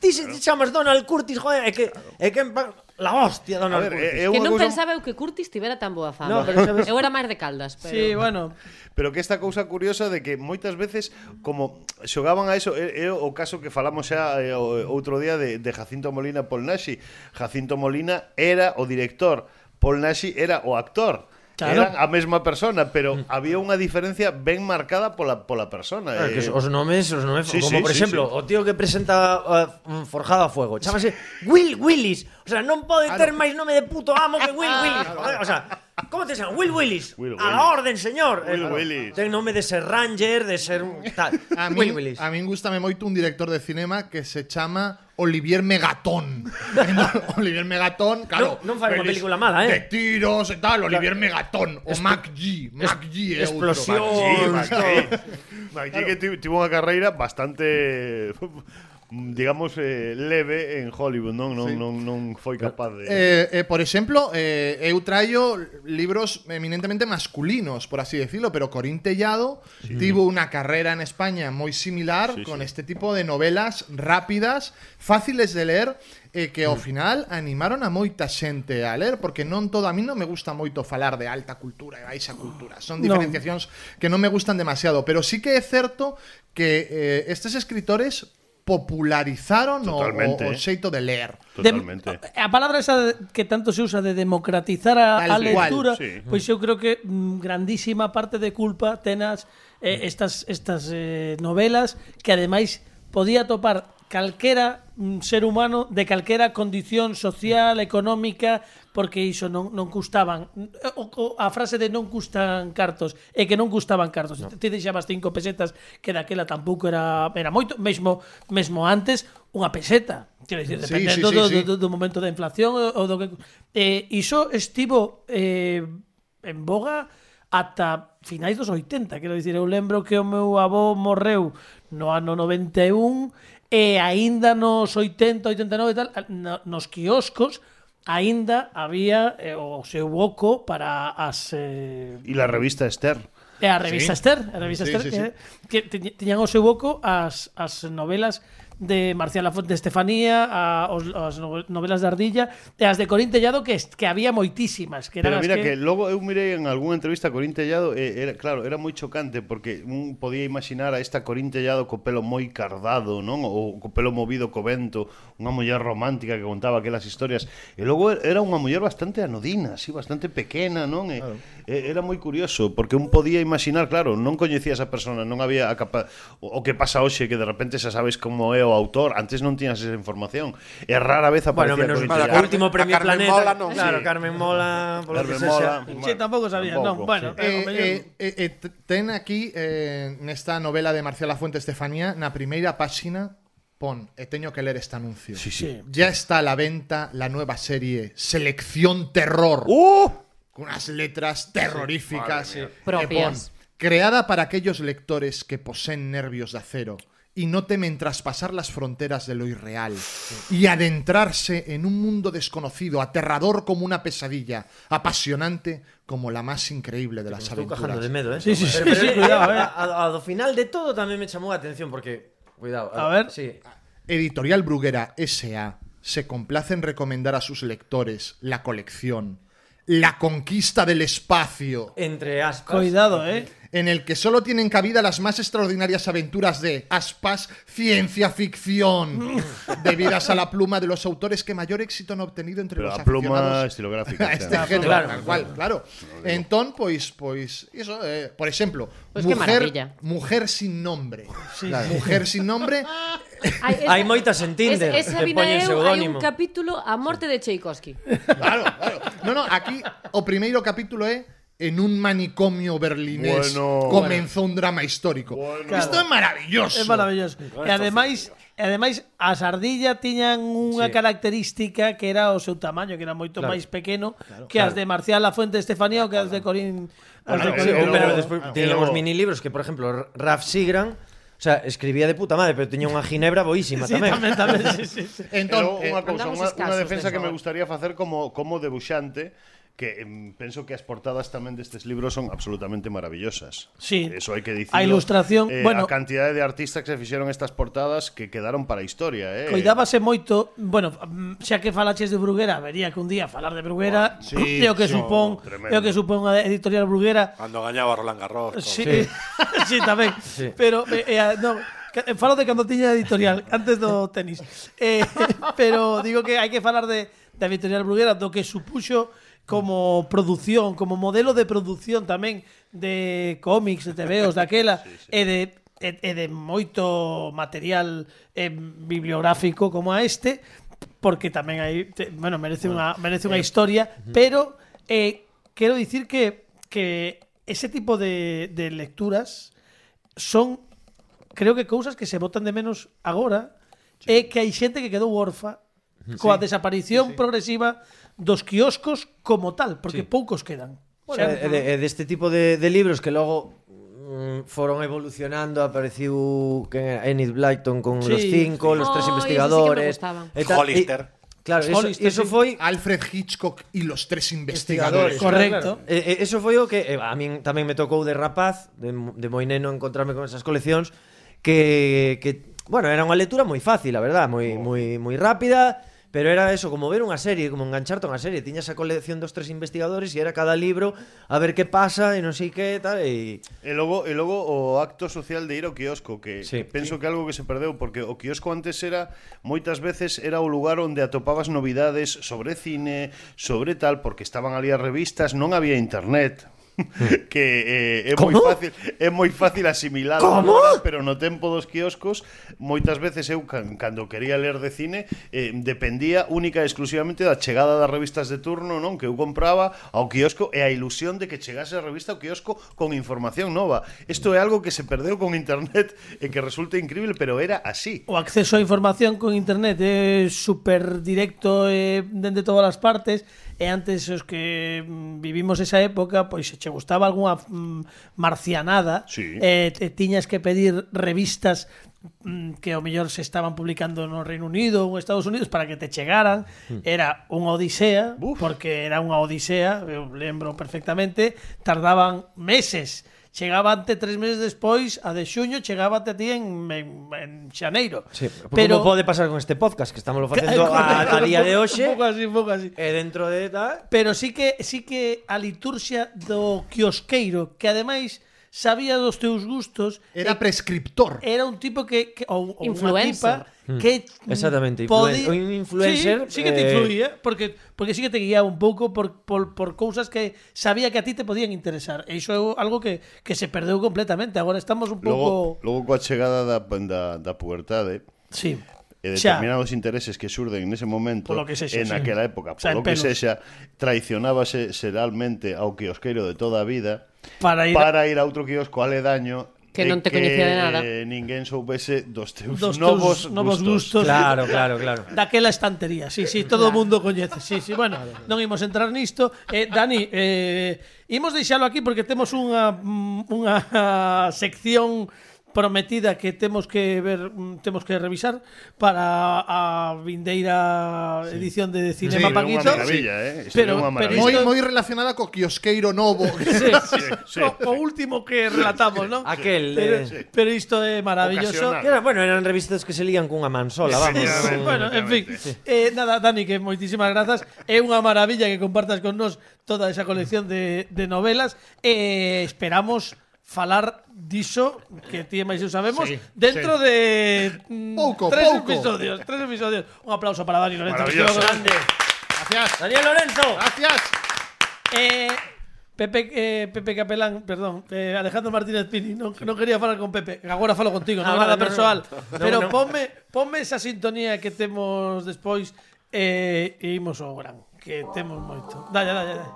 ti se te chamas Donald Curtis, joder, é que é que en pa- la hostia
A
Donald
ver, eh,
Curtis.
é, é
Que
unha
non
cousa-
pensaba eu que Curtis tivera tan boa
No,
fama.
pero sabes-
Eu era máis de Caldas, pero...
Sí, bueno,
Pero que esta cousa curiosa de que moitas veces como xogaban a eso é, é o caso que falamos xa é, o- outro día de, de Jacinto Molina e Paul Nashi. Jacinto Molina era o director, Paul Nashi era o actor.
Claro.
Eran a mesma persona, pero había unha diferencia ben marcada pola pola persona.
Claro, Ah, que os-
eh.
os nomes, os nomes,
Sí,
como
sí,
por
sí,
exemplo,
sí.
o tío que presenta uh, Forjado a Fuego, chamase Will Willis. O sea, non pode ter máis nome de puto amo que Will
Ah.
Willis. joder, O sea, como te chaman? Will Willis.
Will
a la
Willis.
orden, señor.
Will
claro,
Willis.
Ten nome de ser ranger, de ser un tal.
A mí,
Will Willis.
a mí me gusta me moito un director de cinema que se llama Olivier Megatón. Olivier Megatón, claro.
Non- non fai unha
pelis
película mala, eh.
De tiros e tal, Olivier Megatón. O Mac G. Mac G. eh, é outro.
explosión.
Sí, Maggi. Maggi que tu- tuvo una carrera bastante digamos eh, leve en Hollywood, non non non, non foi capaz de
Eh, eh, por ejemplo, eh, eu traio libros eminentemente masculinos, por así decirlo, pero Corín Tellado tuvo una carrera en España muy similar con este tipo de novelas rápidas, fáciles de leer, eh, que al
Mm.
final animaron a moita xente a leer, porque non todo, a mí no me gusta moito falar de alta cultura e baixa cultura, son
No.
diferenciacións que no me gustan demasiado, pero sí que es cierto que eh, estos escritores popularizaron o,
Totalmente,
o, o
eh.
xeito de leer.
totalmente.
De- a palabra esa de- que tanto se usa de democratizar a,
Tal
a
cual,
lectura,
sí.
pois eu creo que mm, grandísima parte de culpa tenas eh,
Mm.
estas estas eh, novelas que ademais podía topar calquera mm, ser humano de calquera condición
Mm.
social, económica, porque iso non, non custaban o, o, a frase de non custan cartos e que non custaban cartos. No. Ti deixabas cinco pesetas que daquela tampouco era era moito, mesmo mesmo antes unha peseta. Quero dicir,
Sí,
dependendo
sí, sí,
do, do,
sí.
do momento da inflación ou do que eh iso estivo eh en boga ata finais dos 80, quero dicir, eu lembro que o meu avó morreu no ano 91 e aínda nos 80, 89 e tal, a- no- nos quioscos aínda había eh, o seu boco para as eh,
Y la revista Esther.
E a revista
Sí.
Esther, a revista
Sí,
Esther,
sí, sí.
eh, que tiña- tiñan o seu boco as, as novelas de Marcial Lafonte Estefanía, a, os, as no- novelas de Ardilla, e as de Corín Tellado que, est- que había moitísimas, que eran
Pero mira
as que...
que... luego eu mirei en alguna entrevista a Corín Tellado e era, claro, era moi chocante porque un podía imaginar a esta Corín Tellado co pelo moi cardado, non? O co pelo movido co vento, unha muller romántica que contaba aquelas historias. E logo er, era unha muller bastante anodina, así bastante pequena, non? E, claro. e era moi curioso porque un podía imaginar, claro, non coñecía esa persona, non había a capa... o o que pasa hoxe que de repente xa sabes como é o autor, antes non tiñas esa información. É rara vez
Bueno,
aparecía
menos
Corín
mal,
Tellado.
o último
A
premio
Carmen
Planeta.
Mola non.
Claro,
Sí.
Carmen Mola, polo que
Carmen
sexa.
Mola,
Sí, tampouco sabía, non, bueno,
sí.
Eh,
ao mellor-
eh, eh, eh, t- ten aquí eh, nesta novela de Marcial Fuente Estefanía na primeira páxina pon e teño que ler este anuncio
sí.
ya está a la venta la nueva serie Selección Terror
¡Uh!
con unas letras terroríficas Eh,
Propias.
pon, creada para aquellos lectores que poseen nervios de acero y no temen traspasar las fronteras de lo irreal y adentrarse en un mundo desconocido, aterrador como una pesadilla, apasionante como la más increíble
Me
de las
estou cajando
aventuras.
de medo, eh.
Sí, sí,
Pero-
sí,
pero
sí,
é-
cuidado, eh.
a- a- Ao final de todo tamén me chamou a atención porque cuidado.
A ver.
Sí.
Editorial Bruguera S.A. se complace en recomendar a sus lectores la colección La conquista del espacio,
Entre aspas.
Cuidado, eh.
en el que solo tienen cabida las más extraordinarias aventuras de aspas ciencia ficción, debidas a la pluma de los autores que mayor éxito han obtenido entre
Pero
los
a pluma
aficionados
estilográfica.
a
o
este
sea,
género,
claro.
tal cual, claro. Entón, pois, pois, iso, eh, por exemplo,
Pois que maravilla.
mujer, mujer sin nombre. Claro. Mujer sin nombre,
Hai, esa-
Hai moitas en Tinder
Es, esa
que
vina
poñen
eu, hai
pseudónimo.
un capítulo a morte de Tchaikovsky.
claro, claro. No, no, aquí o primeiro capítulo é En un manicomio berlinés
Bueno.
comenzou un drama histórico. Isto é maravilloso.
É maravilloso. E ademais, e ademais as ardillas tiñan unha
Sí.
sí. característica que era o seu tamaño, que era moito
Claro.
máis pequeno que as de Marcial La Fuente Estefanía ou que as de Corín. As de
Claro,
Sí,
Corín.
pero,
Pero-
despois
ah,
claro.
tiñan os
Pero-
minilibros que, por exemplo, Raf Sigran, o sea, escribía de puta madre, pero tiña unha ginebra boísima
Sí,
tamén.
tamén, tamén, sí, sí, sí.
Entón,
Pero
eh,
unha cousa,
andamos
unha,
escasos
unha defensa
desa
que me
hora.
gustaría facer como como debuxante que em, penso que as portadas tamén destes libros son absolutamente maravillosas.
Sí.
Eso hai que dicir.
A ilustración, bueno-
a cantidade de artistas que se fixeron estas portadas que quedaron para a historia, eh.
Coidábase moito, bueno, mm, xa que falaches de Bruguera, vería que un día falar de Bruguera,
Sí,
é o que
sí,
supón,
tremendo.
é o que supón a editorial Bruguera,
Cuando gañaba Roland Garros.
Sí,
Sí.
sí tamén.
Sí.
Pero eh, eh, ah, no, ca- eh, falo de cando tiña editorial antes do tenis. Eh, pero digo que hai que falar de da editorial Bruguera do que supuxo como produción, como modelo de produción tamén de cómics, de TVOs daquela e de e, e de moito material eh, bibliográfico como a este porque tamén hai te- bueno, merece unha merece
eh,
unha historia, pero eh, quero dicir que que ese tipo de, de lecturas son creo que cousas que se botan de menos agora é que hai xente que quedou orfa coa desaparición progresiva dos quioscos como tal, porque poucos quedan.
Bueno, e de, e deste tipo de, de libros que logo mm, foron evolucionando, apareciu quen era? Enid Blyton con
Sí.
los cinco, los
Ay,
tres
ese Oh, sí que me
investigadores.
gustaban.
e tal,
Hollister.
e- claro, eso,
Hollister,
eso
sí.
foi
Alfred Hitchcock y los tres investigadores.
Correcto.
E, e, eso foi o que eh, a min tamén me tocou de rapaz, de, de moi neno encontrarme con esas coleccións que que bueno, era unha lectura moi fácil, a verdad, moi moi moi rápida, pero era eso como ver unha serie, como engancharte a unha serie, tiñas a colección dos tres investigadores e era cada libro a ver que pasa e non sei que tal e
E logo, e logo o acto social de ir ao quiosco que,
Sí.
sí. que penso que é algo que se perdeu porque o quiosco antes era moitas veces era o lugar onde atopabas novidades sobre cine, sobre tal porque estaban ali as revistas, non había internet que eh, é moi
Como?
fácil é moi fácil asimilar
Como?
agora, pero no tempo dos quioscos moitas veces eu can, cando quería ler de cine eh, dependía única e exclusivamente da chegada das revistas de turno non que eu compraba ao quiosco e a ilusión de que chegase a revista ao quiosco con información nova isto é algo que se perdeu con internet e que resulta increíble pero era así
O acceso á información con internet é super directo eh, dende todas as partes e antes os que mm, vivimos esa época pois se che gustaba algunha mm, marcianada
Sí.
eh, te tiñas que pedir revistas mm, que ao mellor se estaban publicando no Reino Unido ou Estados Unidos para que te chegaran
Hmm.
era unha odisea
Buf.
porque era unha odisea eu lembro perfectamente tardaban meses Chegaba ante tres meses despois, a de xuño chegaba a ti en, en, en xaneiro.
sí, pero como pode pasar con este podcast que estamos lo facendo a, a día de hoxe
Un pouco así, un pouco así.
e dentro de tal
Pero sí que sí que a liturxia do quiosqueiro, que ademais sabía dos teus gustos, e-
Era prescriptor.
era un tipo que, que ou, ou unha tipa
Influencer.
que
Hmm. Exactamente,
podi-
influen- un influencer,
Sí, sí que te
eh,
influía, porque porque sí que te guiaba un pouco por, por, por cousas que sabía que a ti te podían interesar. E iso é algo que, que se perdeu completamente. Agora estamos un pouco
logo, logo coa chegada da, da, da pubertade
Sí.
e
Xa.
determinados intereses que surden nese momento
Polo que sexa, sí.
en aquela época,
Xa, en
polo que
pelos.
sexa, traicionábase seralmente ao quiosqueiro de toda a vida
Para ir-
para ir a outro quiosco aledaño
Que
e
non te coñecía de nada.
que ninguén soubese dos teus
Dos teus
novos,
novos gustos.
gustos.
Claro, claro, claro.
Daquela estantería, sí, sí, todo o mundo coñece. Sí, sí, bueno, non imos entrar nisto. Eh, Dani, eh, imos deixalo aquí porque temos unha mm, unha sección prometida que temos que ver, mm, temos que revisar para a vindeira edición de Cinema
Sí,
Paquito.
unha maravilla, eh? Sería
Pero,
unha
pero
maravilla.
Moi,
isto-
moi relacionada co Kiosqueiro Novo.
Sí, o, o último que relatamos, ¿no?
Aquel,
Pero,
eh,
pero isto é maravilloso.
Ocasional.
Que era, bueno, eran revistas que se lían cunha mansola, vamos.
Sí, sí, bueno, en fin. Eh, nada, Dani, que moitísimas grazas. É unha maravilla que compartas con nós toda esa colección de, de novelas. Eh, esperamos falar diso que ti e máis eu sabemos
Sí,
dentro
sí.
de mm,
Pouco,
tres
pouco.
episodios, tres episodios. Un aplauso para Dani Lorenzo. que é o
Maravilloso.
grande.
Gracias.
Daniel Lorenzo.
Gracias.
Eh, Pepe, eh, Pepe Capelán, perdón, eh, Alejandro Martínez Pini, non, non quería falar con Pepe, agora falo contigo, non
Ah,
é
vale,
nada
no, no.
persoal,
No,
pero
no.
ponme ponme esa sintonía que temos despois eh, e imos ao gran, que temos moito. Dale, dale, dale.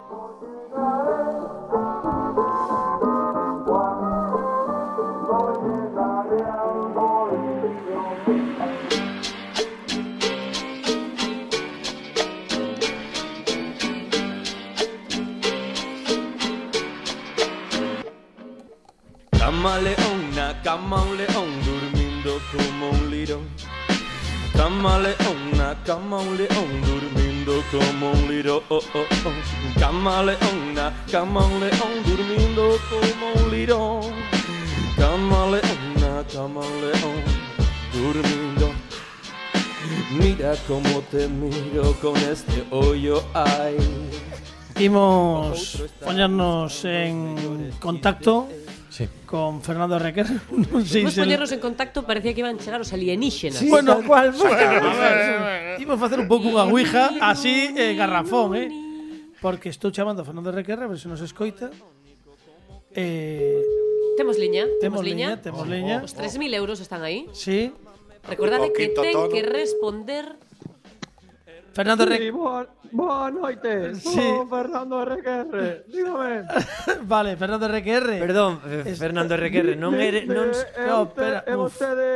Camaleona, camaleón, durmiendo como un lirón. Camaleona, camaleón, durmiendo como un lirón. Camaleona, camaleón, durmiendo como un lirón. Camaleona, camaleón, durmiendo. Mira cómo te miro con este hoyo, ay.
Imos poñernos en contacto
Sí.
con Fernando Requer. Non sei
Imos
se
poñernos en contacto, parecía que iban chegar os alienígenas.
Bueno, cual Imos facer un pouco unha ouija así eh, garrafón, eh? Porque estou chamando a Fernando Requerra, a ver se nos escoita. Eh,
Temos liña,
temos
temos
liña,
liña.
temos liña.
Os
Oh.
3.000 euros están aí.
Sí.
Recordade que
Poquito
ten
tono.
que responder
Fernando Requerra.
Boa, boa noite,
Sí.
sou Oh, Fernando RQR, dígame.
Vale, Fernando Requerra.
Perdón, eh,
Es-
Fernando Requerre, non ere, non s- oh,
É
no,
usted-
espera,
É
uf.
vostede...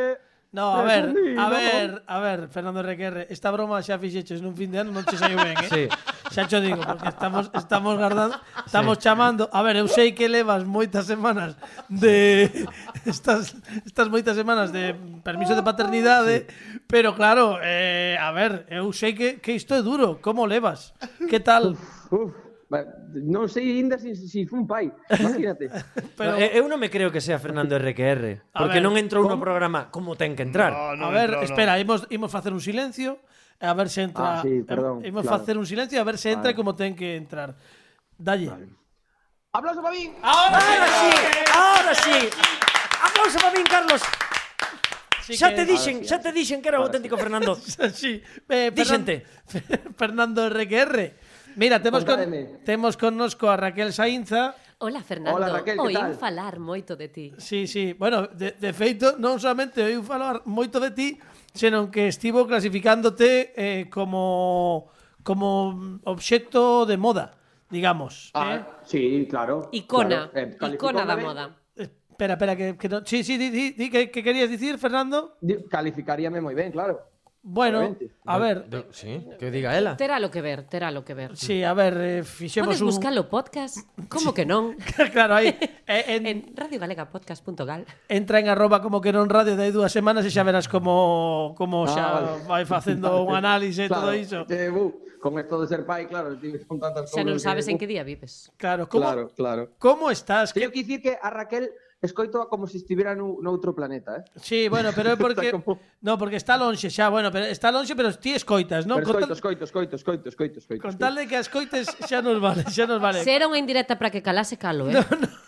No, a
de
ver,
Sandí,
a
non?
ver, a ver, Fernando Requerre, esta broma xa fixeches nun fin de ano, non che saiu ben, eh?
Sí.
Xa cho digo, porque estamos estamos guardando, estamos chamando. A ver, eu sei que levas moitas semanas de estas estas moitas semanas de permiso de paternidade, pero claro, eh, a ver, eu sei que que isto é duro, como levas? Que tal?
Uf, ba- non sei ainda se si, si fun pai, imagínate.
Pero
Eh, eu non me creo que sea Fernando RQR,
A ver,
porque non entrou no programa como ten que entrar.
No, no
a ver,
entró, no.
espera, imos, imos facer un silencio e a ver se entra.
Ah, sí, perdón,
imos
claro.
facer un silencio e a ver se entra
Vale.
como ten que entrar. Dalle.
Aplauso para min.
Ah, Ahora sí, ahora sí. Aplauso para min, Carlos.
Sí
xa
que-
te
ah,
dixen, xa te dixen que era o auténtico Fernando.
sí. Eh,
Díxente.
Fernan- Fernando RQR. Mira, temos con,
Contademe.
temos connosco a Raquel Sainza.
Hola, Fernando.
Hola, Raquel, que
Oín
tal?
falar moito de ti.
Sí, sí. Bueno, de, de feito, non solamente oiu falar moito de ti, senón que estivo clasificándote eh, como como obxecto de moda, digamos. eh?
Ah, sí, claro.
Icona,
claro. Eh,
icona da
calificoume-
moda.
Espera, espera, que, que no. Sí, sí, di, di, di, ¿qué, qué querías decir, Fernando?
Di- Calificaríame moi ben, claro.
Bueno,
Obviamente.
a ver,
Sí, que o diga ela.
Terá lo que ver, terá lo que ver.
sí, a ver, eh, fixemos
Podes
un.
buscar o podcast? Como que non?
claro, aí. eh, en,
En radiogalegapodcast.gal
Entra en arroba como que non radio de aí dúas semanas e xa verás como, como
Ah,
xa vai
vale.
facendo un análise e todo
Eh, Claro,
iso.
eh, bu, con esto de ser pai, claro, tive con tantas
Xa
cousas.
non sabes en que
bu,
día vives.
Claro, como,
Claro, claro.
como estás? Que,
Teño que dicir que a Raquel escoitoa como se estivera nu- noutro planeta, eh?
sí, bueno, pero é porque...
Está como-
No, porque está lonxe xa, bueno, pero está lonxe, pero ti escoitas, non?
Pero
Con tal-
escoito, escoito, escoito, escoito, escoito, escoito.
Con tal de que as coites xa nos vale, xa nos vale.
Se era unha indirecta para que calase calo, eh?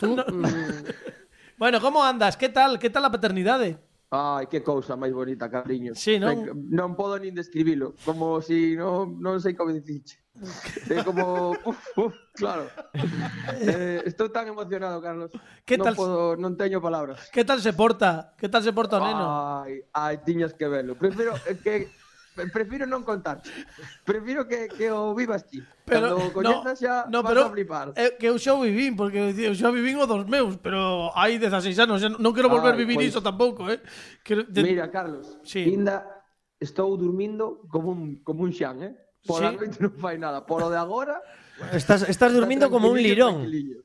Tú, mm,
Bueno, como andas? Que tal? Que tal a paternidade?
Ai, que cousa máis bonita, cariño.
Sí, non?
Ben, non podo nin describilo, como si non, non sei como dicirche. É como, uf, uf, claro. Eh, estou tan emocionado, Carlos.
Que
non
tal-
Podo, non teño palabras.
Que tal se porta? Que tal se porta
Ah.
o neno?
Ai, ai, tiñas que velo. Prefiero eh, que prefiro non contar. Prefiro que, que o vivas ti.
Pero
Cando o
no,
coñezas xa
no,
vas
pero
a flipar.
eh, que eu xa o vivín, porque eu xa vivín o dos meus, pero hai 16 anos, xa non quero volver a
Ai,
vivir
pois.
iso tampouco, eh. Quero, de,
Mira, Carlos,
Sí.
ainda estou durmindo como un, como un xan, eh? Pola
Sí.
noite non fai nada. Polo de agora...
Estás estás
está
durmindo como un
tranquiliño,
lirón.
tranquiliño.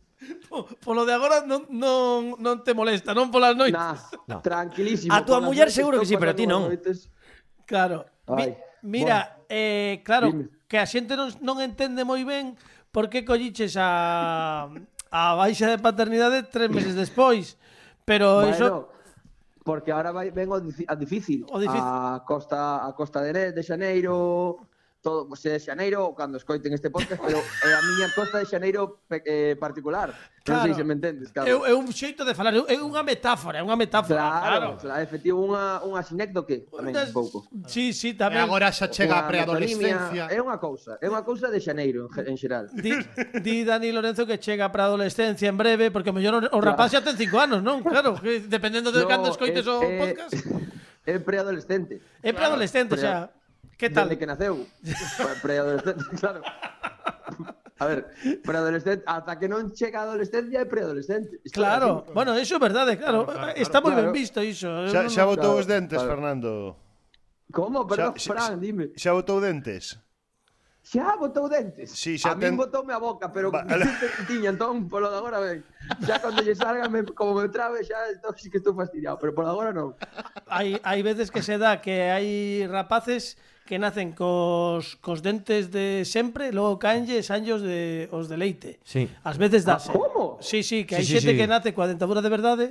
Po- Polo de agora non, non, non te molesta, non polas noites.
No.
Nah, tranquilísimo.
A túa
Polas
muller
noites,
seguro que
eu
sí, pero
pasando
ti non.
as noites,
Claro. Mi,
Ai,
mira, eh, claro,
Dime.
que a xente non, non entende moi ben por que colliches a, a baixa de paternidade tres meses despois. Pero
Bueno,
iso...
porque ahora vai, vengo difi- a difícil,
O
Oh,
difícil.
a Costa a Costa de, Ne- de Xaneiro, todo, pues, de Xaneiro, cando escoiten este podcast, pero é a miña Costa de Xaneiro pe- eh, particular.
Claro.
Non sei se me entendes, claro.
É, é un xeito de falar, é unha metáfora, é unha metáfora, claro.
Claro, claro, efectivo, unha, unha sinécdoque tamén,
Unhas-
un pouco.
Sí, sí,
E
tamén.
agora xa chega a
Unha metonimia,
preadolescencia.
É unha cousa, é unha cousa de Xaneiro en, ge- en xeral.
Di, di Dani Lorenzo que chega para a adolescencia en breve, porque o mellor o, o rapaz xa ten cinco anos, non? Claro, que dependendo de
No,
cando escoites
é-
o
é-
podcast.
É preadolescente.
É para adolescente xa. Que tal?
Desde que naceu. Pre- Preadolescente, claro. A ver, preadolescente, ata que non chega a adolescencia é preadolescente. Isto
Claro,
é así.
bueno, eso es verdade, claro. Está moi ben
claro.
visto eh, iso.
Xa, xa botou
claro,
os dentes,
claro.
Fernando.
Como, perdón,
Xa- xa-
Fran, dime.
Xa botou dentes.
Xa botou dentes.
Sí, xa
a
ten-
min botoume a boca, pero
Vale.
tiña entón polo de agora ben. Xa cando lle salga me, como me trabe, xa entón sí que estou fastidiado, pero polo de agora non.
Hai hai veces que se dá que hai rapaces que nacen cos, cos dentes de sempre, logo caenlle sanllos de os de leite.
Sí.
Ás veces
Ah,
dáse.
como?
Sí, sí, que
Sí,
hai
sí,
xente
sí.
que nace coa dentadura de verdade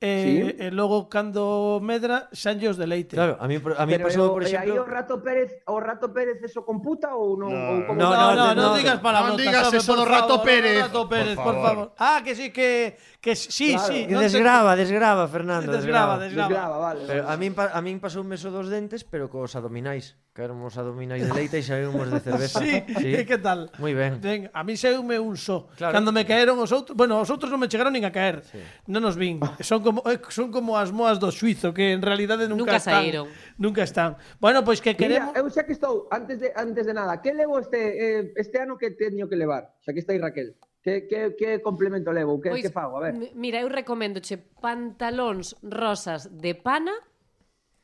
e,
Sí.
e logo cando medra sanllos de leite.
Claro, a mí, a mí
pero
pasou,
eu-
por
e aí o
exemplo...
Rato Pérez, o Rato Pérez eso computa ou non?
No,
ou como
No, no, no,
no,
digas palabrotas.
no digas
home,
eso
por
do Rato
favor, do
Pérez.
Rato
Por
Pérez, por favor.
favor.
Ah, que sí, que, que sí,
Claro,
sí.
Que
non te-
desgrava, desgrava, Fernando,
Desgrava,
desgrava.
desgrava.
Desgrava, vale.
Pero
vale.
Eh, a min, pa- a min pasou un meso dos dentes, pero cos abdominais. Caeron os abdominais de leite e saímos de cerveza.
Sí, e que tal?
Moi ben.
Ben, a mí seume un só.
Claro.
Cando me caeron os outros, bueno, os outros non me chegaron nin a caer. Non os vin. Son como eh, son como as moas do suizo que en realidade nunca,
Nunca
están.
saíron.
Nunca están. Bueno, pois que
Mira,
queremos
eu xa que estou, antes de antes de nada, que levo este eh, este ano que teño que levar? Xa que estáis Raquel. Que que que complemento levo? Que
Pois,
que fago? A ver.
mi- Mira, eu recomendoche pantalóns rosas de pana,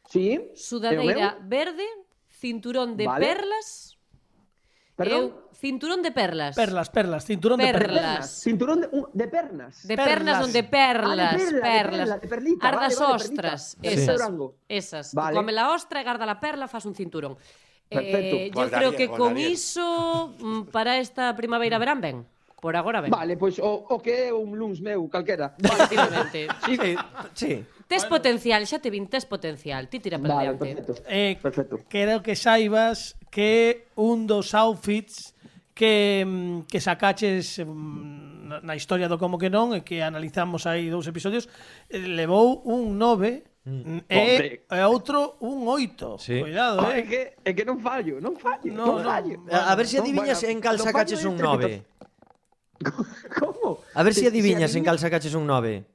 Sí?
sudadeira verde, cinturón de
Vale.
perlas.
Perdón.
Eu, cinturón de perlas.
perlas, perlas, cinturón de
Perlas.
perlas.
Cinturón de, un- de pernas.
De
Perlas.
perlas, onde
Ah,
perlas,
de perla, de
perlas.
perla, de perlita,
Arda
vale,
as
vale,
ostras,
perlita. Sí.
esas.
Durango.
Esas.
Vale.
Vale. Come la ostra e garda la perla, fas un cinturón.
Perfecto.
Eh, yo
Guardaría,
creo que con
guardaría.
iso mm, para esta primavera verán ben. Por agora ben.
Vale, pois o, o que é un luns meu, calquera.
Efectivamente.
Sí,
Sí.
Tes potencial, xa te vin, tes potencial. Ti tira para
vale,
diante.
perfecto.
Eh,
Perfecto.
Quero que saibas que un dos outfits que, mm, que sacaches mm, na- na historia do como que non e que analizamos aí dous episodios eh, levou un 9 e, e outro un 8
Sí.
cuidado
É
eh.
que, é que non fallo, non fallo,
No,
non
no.
fallo.
Eh, A a ver se
Non,
adiviñas
bueno,
en cal
non
sacaches
fallo
un
de estrepito.
9.
Como?
A ver
Si-
se adiviñas
si
en cal sacaches un 9.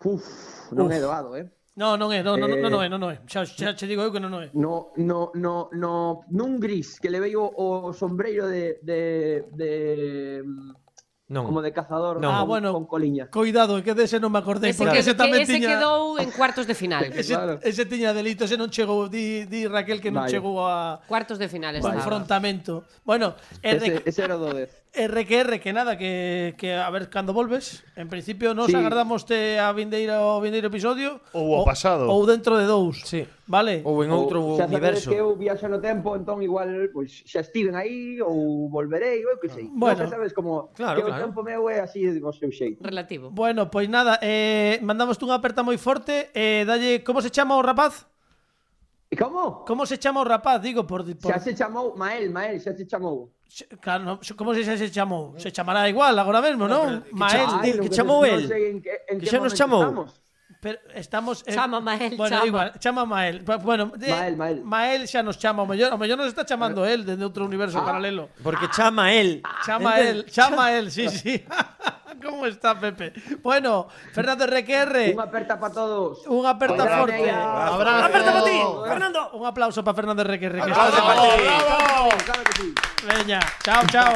Uf, non é doado, eh.
No, non é, non, non, non,
Eh.
non é, non, non é. Xa, xa che digo eu que non, non é.
No, no, no, no, nun gris que levei o, o sombreiro de, de, de
Non.
como de cazador
Non.
con,
Ah, bueno.
con coliña.
Cuidado, que dese non me acordei,
Ese,
porque
que,
ese
que
tamén
ese
tiña
quedou en cuartos de final.
ese,
Claro.
ese tiña delito, ese non chegou, di, di Raquel que non
Vale.
chegou a
Cuartos de final
a
estaba.
confrontamento. Bueno, e de-
Ese, ese era o do 10.
RQR, que nada, que, que a ver cando volves. En principio nos
Sí.
agardamos te a vindeira o vindeiro episodio
Ou ao pasado.
ou dentro de dous.
Sí.
Vale.
Ou en outro
Ou, xa sabedes
universo.
que eu viaxo no tempo, entón igual pois xa estiven aí ou volverei, ou eu que sei.
Bueno.
non xa sabes como
Claro,
que
claro.
o tempo meu é así do seu xeito.
Relativo.
Bueno, pois nada, eh, mandamos unha aperta moi forte, eh, dalle, como se chama o rapaz?
E como?
Como se chama o rapaz? Digo por, por
Xa se chamou Mael, Mael, xa se chamou.
se- claro, no, se- como se, se, se chamou? Se chamará igual agora mesmo, non?
chama-
Mael,
que
Ah, non
chamou
sei-
el.
non sei en que, en
Que
que
xa nos
momento
chamou.
estamos.
pero estamos eh,
Chama, Mael,
bueno,
chama.
igual, chama Mael. Pa- Bueno, de-
Mael, Mael.
Mael xa nos chama, o mellor, o mellor nos está chamando el dende outro universo
Ah.
paralelo.
Porque chama él.
Chama
Entende?
él, chama él, sí, sí. ¿Cómo está Pepe? Bueno, Fernando RQR,
Unha aperta para todos.
un aperta
Hola,
forte.
Neia.
Abrazo.
Aperta para ti,
Bravo.
Fernando. Un aplauso para Fernando RQR. que
Aplauso
está-
para ti.
Claro que sí.
Veña, chao, chao.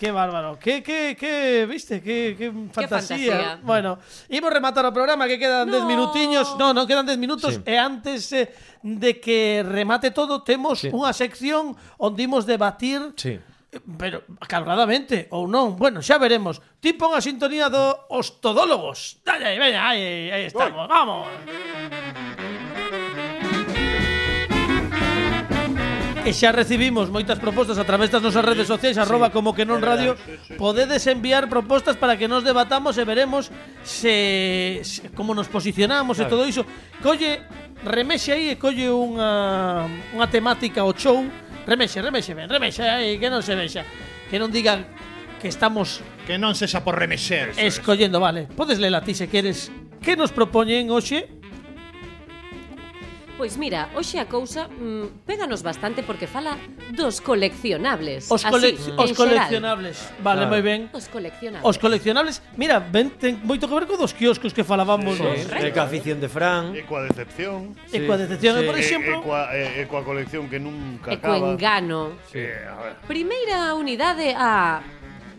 Qué bárbaro. Qué, qué, qué, viste, qué, qué fantasía.
fantasía.
Bueno, imos rematar o programa que quedan 10
No.
minutiños. No, non quedan 10 minutos
Sí.
e antes eh, de que remate todo temos
Sí.
unha sección onde imos debatir
Sí.
eh, pero cabradamente ou non, bueno, xa veremos. Ti pon a sintonía do os todólogos. Dale, aí, veña, aí, aí estamos. Vamos. E xa recibimos moitas propostas a través das nosas redes sociais arroba como que non radio Podedes enviar propostas para que nos debatamos e veremos se, se como nos posicionamos e todo iso Colle, remexe aí e colle unha, unha temática ao show Remexe, remexe, ben, remexe aí, que non se vexa Que non digan que estamos
Que non sexa por remexer.
escollendo, vale Podes lela ti se queres Que nos propoñen hoxe?
Pois mira, hoxe a cousa mm, péganos bastante porque fala dos coleccionables.
Os,
así,
cole
en
os
xeral.
coleccionables Vale, moi ben
Os coleccionables.
Os coleccionables, mira, ven, ten moito que ver co dos quioscos que falábamos sí, dos.
E ca afición de Fran.
Ecuadecepción.
E coa decepción,
sí.
por exemplo,
Ecua, eh, ecuacolección que
E
nunca acaba.
Ecoengano.
Sí, a ver.
Primeira unidade a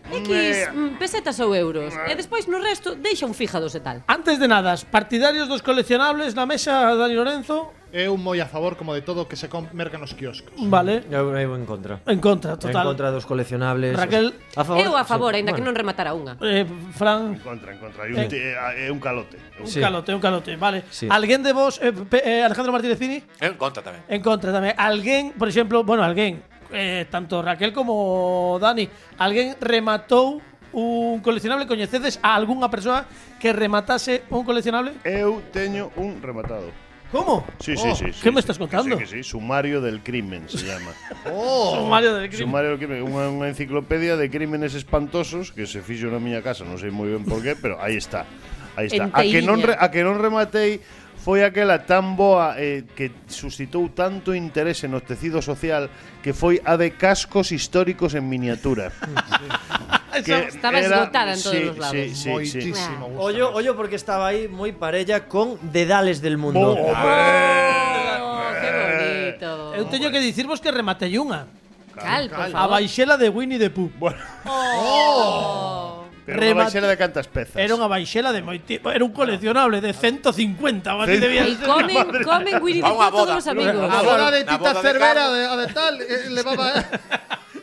X mm, pesetas ou euros. E despois no resto deixa un fíjados
eh,
e tal.
antes de nada, os partidarios dos coleccionables na mesa, Dani Lorenzo,
Eu moi a favor como de todo que se com- mercan os quioscos.
vale,
Eu eu en contra.
en contra,
Mm. En
total.
contra dos coleccionables.
Raquel.
a favor.
Eu a favor, aínda que
bueno.
non rematara unha.
Eh, Fran,
En contra, en contra. Hay un, ti- eh, ah, eh, un calote.
un
Sí.
calote, un calote, vale.
Sí.
Alguén de vos, eh, Pe- eh, Alejandro Martínez Fini,
En contra tamén.
en contra tamén. Alguén, por exemplo, bueno, alguén, eh, tanto Raquel como Dani, alguén rematou un coleccionable, coñecedes a algunha persoa que rematase un coleccionable?
Eu teño un rematado.
Como?
Sí,
Oh,
sí, sí.
¿Qué
sí,
me
sí,
estás
que sí,
contando?
que sí. Sumario del crimen se llama.
Sumario del crimen.
Sumario del crimen, unha, unha enciclopedia de crímenes espantosos que se fixo na miña casa, non sei moi ben por qué, pero aí está. Aí está. A que non re, a que non rematei foi aquela tan boa eh, que suscitou tanto interese no tecido social que foi a de cascos históricos en miniatura.
Estaba esgotada en todos
sí,
os lados.
Sí, sí, sí.
Moitísimo gusto.
Ollo, ollo porque estaba aí moi parella con Dedales del Mundo.
Oh, que bonito.
Eu teño que dicirvos que rematei unha.
Cal,
A
por favor.
baixela de Winnie the Pooh.
Bueno,
Oh.
pero non vai
Remate-
ser de cantas pezas.
Era unha baixela de moi ti- Era un coleccionable de 150, o así debía
E
ser.
comen, comen Winnie the
Vamos a
Pooh todos os
boda.
amigos.
A boda de
Na
Tita
boda de
Cervera,
Carlos.
de, a de tal, eh, levaba...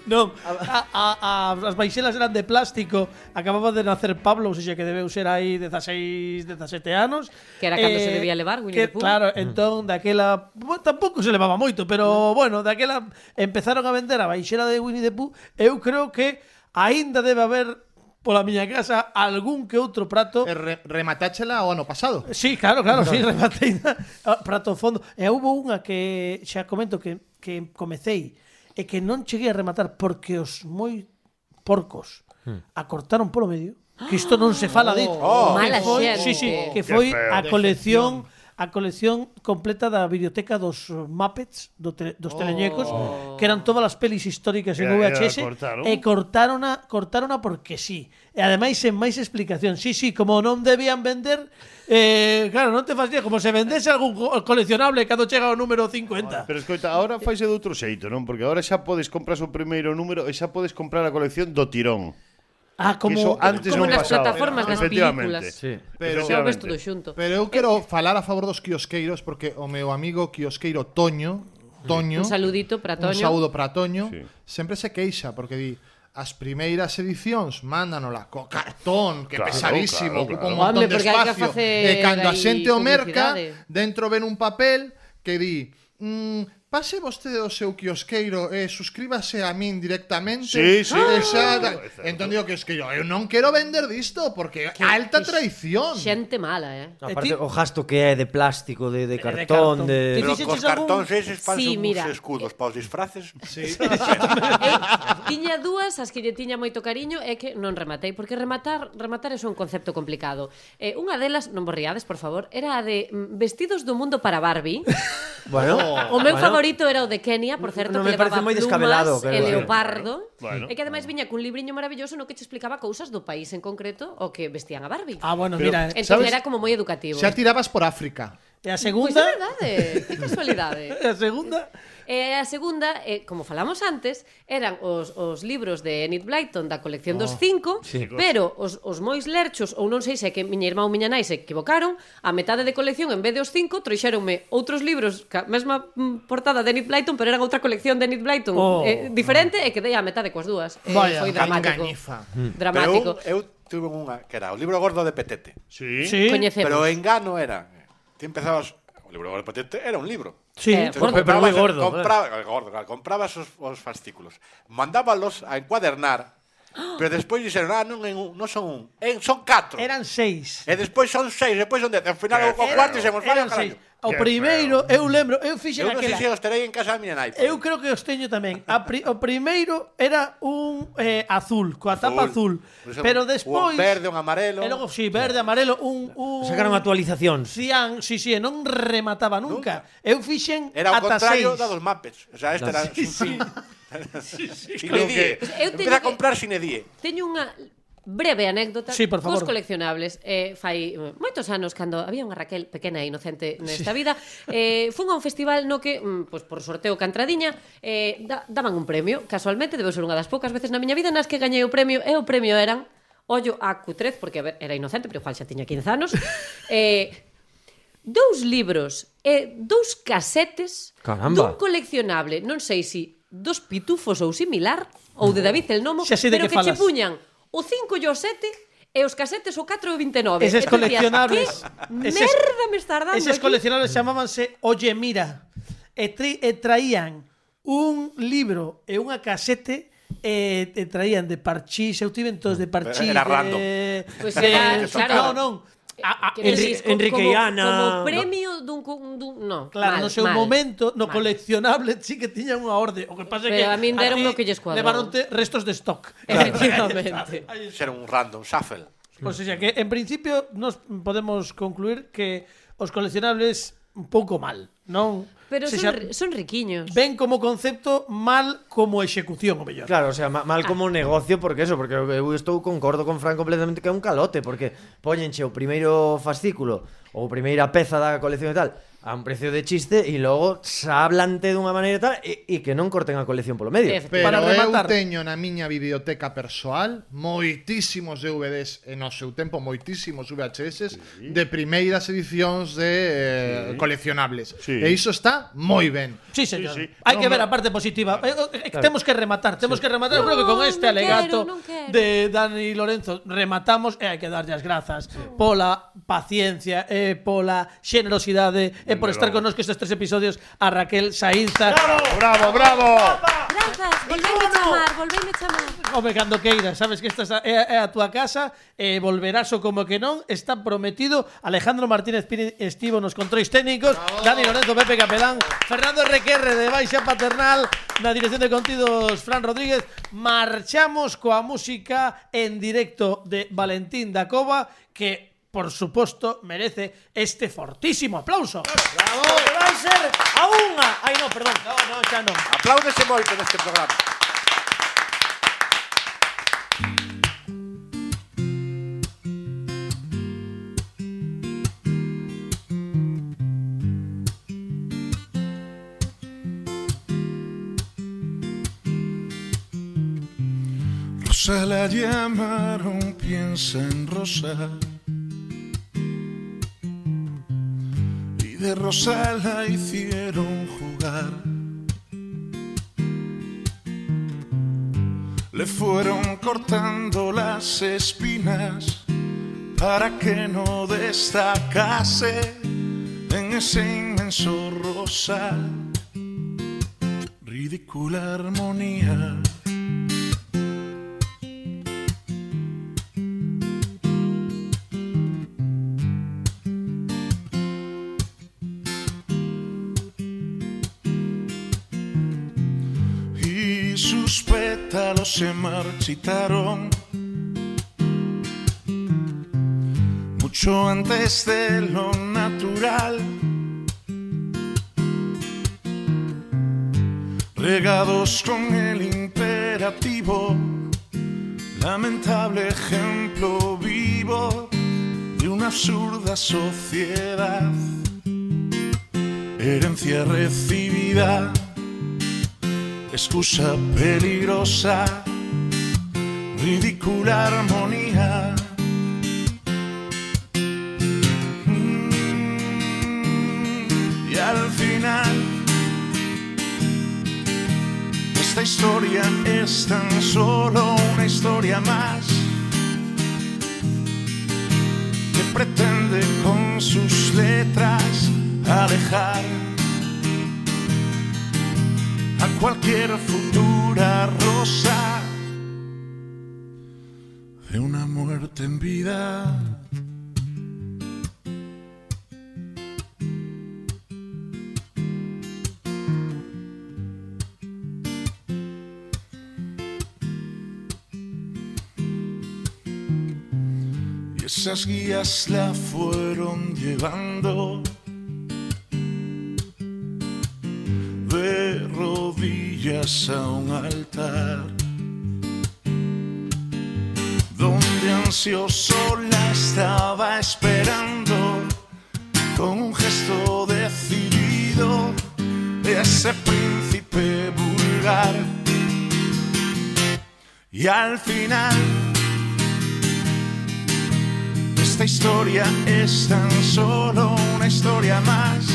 Non, a, a, a, as baixelas eran de plástico. Acababa de nacer Pablo, ou seja, que debeu ser aí 16, 17 anos.
Que era cando se debía levar
Eh, que,
Winnie the Pooh.
Claro, entón daquela, bueno, tampouco se levaba moito, pero bueno, daquela empezaron a vender a baixela de Winnie the Pooh. Eu creo que aínda debe haber pola miña casa algún que outro prato
Eh, re- rematáchela o ano pasado.
Sí, claro, claro, sí, rematei na, a- Ah, prato fondo. E houve unha que xa comento que, que comecei e que non cheguei a rematar porque os moi porcos
Hmm.
a cortaron polo medio. Que isto non se fala disto. que
Mala
foi,
xente.
sí, sí, que
Oh, Qué
foi
feo.
a colección a colección completa da biblioteca dos eh, Muppets, do te, dos teleñecos, que eran todas as pelis históricas en
Oh. E- e a
VHS,
cortaron.
e cortarona, cortarona porque sí. E ademais sen máis explicación. Sí, sí, como non debían vender, eh, claro, non te fastidia como se vendese algún co- coleccionable cando chega ao número 50.
Pero escoita, ahora faise de outro xeito, non? Porque ahora xa podes comprar o primeiro número e xa podes comprar a colección do tirón.
Ah,
Que
como
eso antes non
como nas
pasaba.
plataformas, nas
Efectivamente.
películas.
Sí.
Pero
Xa o ves todo xunto.
Pero eu quero falar a favor dos quiosqueiros porque o meu amigo quiosqueiro Toño, Toño,
Un saludito para
un
Toño.
saúdo para Toño,
Sí.
sempre se queixa porque di as primeiras edicións mándanola co cartón, que
Claro,
pesadísimo,
claro,
ocupa un
claro.
montón
Home,
de
porque hai que
espacio.
facer
E cando a
aí
xente o merca,
publicidade.
dentro ven un papel que di mm, pase vostede ao seu quiosqueiro e suscríbase a min directamente.
Sí, sí.
E xa, da- entón digo que es que yo, eu non quero vender disto porque alta traición.
Xente mala, eh.
Aparte,
ti-
o gasto que é de plástico, de, de
cartón.
cartón, de...
Ti
Pero cos
fixeches algún-
cartóns eses fan
Sí,
sí,
mira.
uns escudos para os disfraces. Sí.
Eu tiña dúas as que lle tiña moito cariño e que non rematei, porque rematar rematar é un concepto complicado. Eh, unha delas, non vos riades, por favor, era a de mm, vestidos do mundo para Barbie.
Bueno,
O meu
bueno,
favorito era o de Kenia, por certo,
non
que
me parece
levaba
moi
plumas
descabelado, eh. pero
e
bueno.
leopardo.
Bueno,
e que ademais viña cun libriño maravilloso no que te explicaba cousas do país en concreto o que vestían a Barbie.
Ah, bueno,
Pero-
mira, eh,
Entón
¿sabes?
era como moi educativo.
Xa tirabas por África.
E a
Pois
segunda...
é verdade, que casualidade.
E a segunda...
E a segunda, eh, como falamos antes, eran os, os libros de Enid Blyton da colección oh, dos cinco, sí. pero os, os mois lerchos, ou non sei se é que miña irmá ou miña nai se equivocaron, a metade de colección, en vez de os cinco, trouxeronme outros libros, ca mesma mm, portada de Enid Blyton, pero eran outra colección de Enid Blyton
Oh.
eh, diferente, e quedei a metade coas dúas. Eh,
Vaya,
foi dramático.
engañifa.
Dramático.
Pero eu, eu tuve unha que era o libro gordo de Petete.
Sí.
Sí,
Coñecemos.
Pero o engano era. Ti empezabas o libro gordo de Petete era un libro.
sí.
Eh,
Entonces,
Gordo,
pero moi gordo,
Compraba, gordo, claro, comprabas os, os fascículos. Mandábalos a encuadernar. Pero despois dixeron, ah, non, en un, non son un, en, son catro.
Eran seis.
E despois son seis, depois son dez. Ao final, Eh, o cuarto se mosfalla,
Eran
carallo.
seis. O primeiro, eu lembro, eu fixen
Eu non sei
aquela...
se os terei en casa da miña nai.
Eu creo que os teño tamén. A pri, o primeiro era un eh, azul, coa tapa azul. Pero despois...
Un verde, un amarelo.
E logo, sí, verde, amarelo, un... un
Sacaron actualizacións.
Cian, sí, sí, e non remataba nunca. Eu fixen
Era o
ata seis.
contrario da dos mapes. O sea, este era sí, sí. Sine
Creo
die.
que-
Eu teño
Empieza a
que-
comprar Sine die.
Teño unha breve anécdota
Sí, por favor.
cos coleccionables. Eh, fai eh, moitos anos, cando había unha Raquel pequena e inocente nesta vida, eh, fun a un festival no que, mm, pois, por sorteo cantradiña, eh, da, daban un premio. Casualmente, debeu ser unha das poucas veces na miña vida nas que gañei o premio, e o premio eran ollo a Q3, porque a ver, era inocente, pero igual xa tiña 15 anos, eh, dous libros e dous casetes
Caramba.
dun coleccionable, non sei se dos pitufos ou similar, ou de David el Nomo,
Xa sei de
pero
que
que, che
falas.
puñan o 5 e o 7 e os casetes o 4 e o 29.
Eses
E tú decías,
coleccionables,
Que
eses-
merda me estás dando
Eses
aquí?"
coleccionables chamábanse Oye Mira e, tri, e traían un libro e unha casete e, e traían de parchís, eu tiven todos de parchís.
Era
de-
random.
Pois era,
de-
claro.
Non, non. A, a,
Quero
el-
dicir, co-
Enrique
como,
Iana,
Como
no.
premio dun... cu- dun no,
Claro,
mal,
no seu
mal,
momento, no
mal.
coleccionable sí que tiña unha orde. O que pasa é que
Pero a min deron
ti
o que lles cuadraba.
Levaronte restos de stock.
Efectivamente.
Ser un random shuffle.
O sea que en principio nos podemos concluir que os coleccionables un pouco mal, non?
Pero
Se
son,
xa-
ri- son riquiños.
ven como concepto mal como execución, o mellor.
Claro, o sea, ma- mal como negocio porque eso, porque eu estou concordo con Fran completamente que é un calote, porque poñenche o primeiro fascículo ou primeira peza da colección e tal a un precio de chiste e logo sablante dunha maneira e tal e, e que non corten a colección polo medio.
Efe-
Pero
Para rematar.
eu teño na miña biblioteca persoal moitísimos DVDs e no seu tempo moitísimos VHS de primeiras edicións de eh, coleccionables.
Sí.
E iso está moi ben.
Sí, señor.
Sí, sí.
Hai
No,
que ver
no.
a parte positiva. Eh, eh, Temos que rematar, temos que rematar. Eu creo que con
No,
este
non
alegato
quero, non quero.
de Dani Lorenzo rematamos e hai que darlle as grazas pola paciencia e pola xenerosidade e por estar con nós que estes tres episodios a Raquel Sainza.
¡Bravo, bravo!
Grazas, volveime chamar, volveime chamar.
Home, cando queira, sabes que esta é, a- é a túa casa e volverás o como que non, está prometido Alejandro Martínez Pini estivo nos controis técnicos, Dani Lorenzo, Pepe Capelán, Fernando Requerre de Baixa Paternal, na dirección de contidos Fran Rodríguez, marchamos coa música en directo de Valentín da Cova que por suposto merece este fortísimo aplauso.
Que vai ser a unha. Ai, no, perdón.
No, no, xa non.
Apláudese moito neste programa.
Rosa la llamaron, piensa en Rosa. Y de Rosa la hicieron jugar. Le fueron cortando las espinas para que no destacase en ese inmenso rosal. Ridícula armonía. y sus pétalos se marchitaron mucho antes de lo natural. Regados con el imperativo, lamentable ejemplo vivo de una absurda sociedad
herencia recibida, excusa peligrosa, ridícula armonía. Mm, Y al final, esta historia es tan solo una historia más que pretende con sus letras alejar a cualquier futura rosa de una muerte en vida. Y esas guías la fueron llevando de rodillas a un altar, donde ansioso la estaba esperando, con un gesto decidido de ese príncipe vulgar. Y al final, esta historia es tan solo una historia más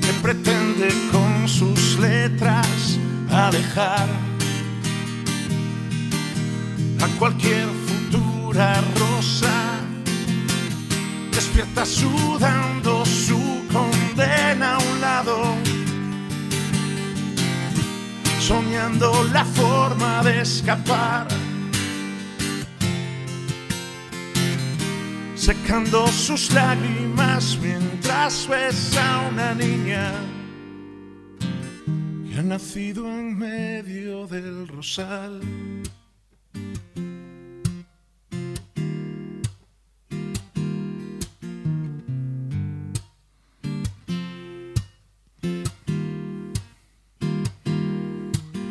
que pretende con sus letras alejar a cualquier futura rosa. Despierta sudando su condena a un lado, soñando la forma de escapar. Secando sus lágrimas mientras besa a una niña que ha nacido en medio del rosal.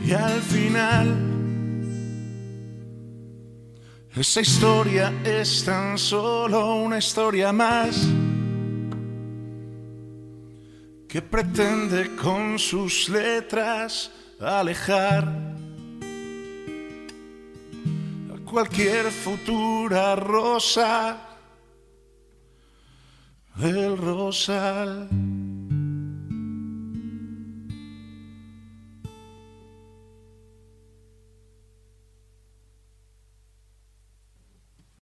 Y al final, esa historia es tan solo una historia más que pretende con sus letras alejar a cualquier futura rosa del rosal.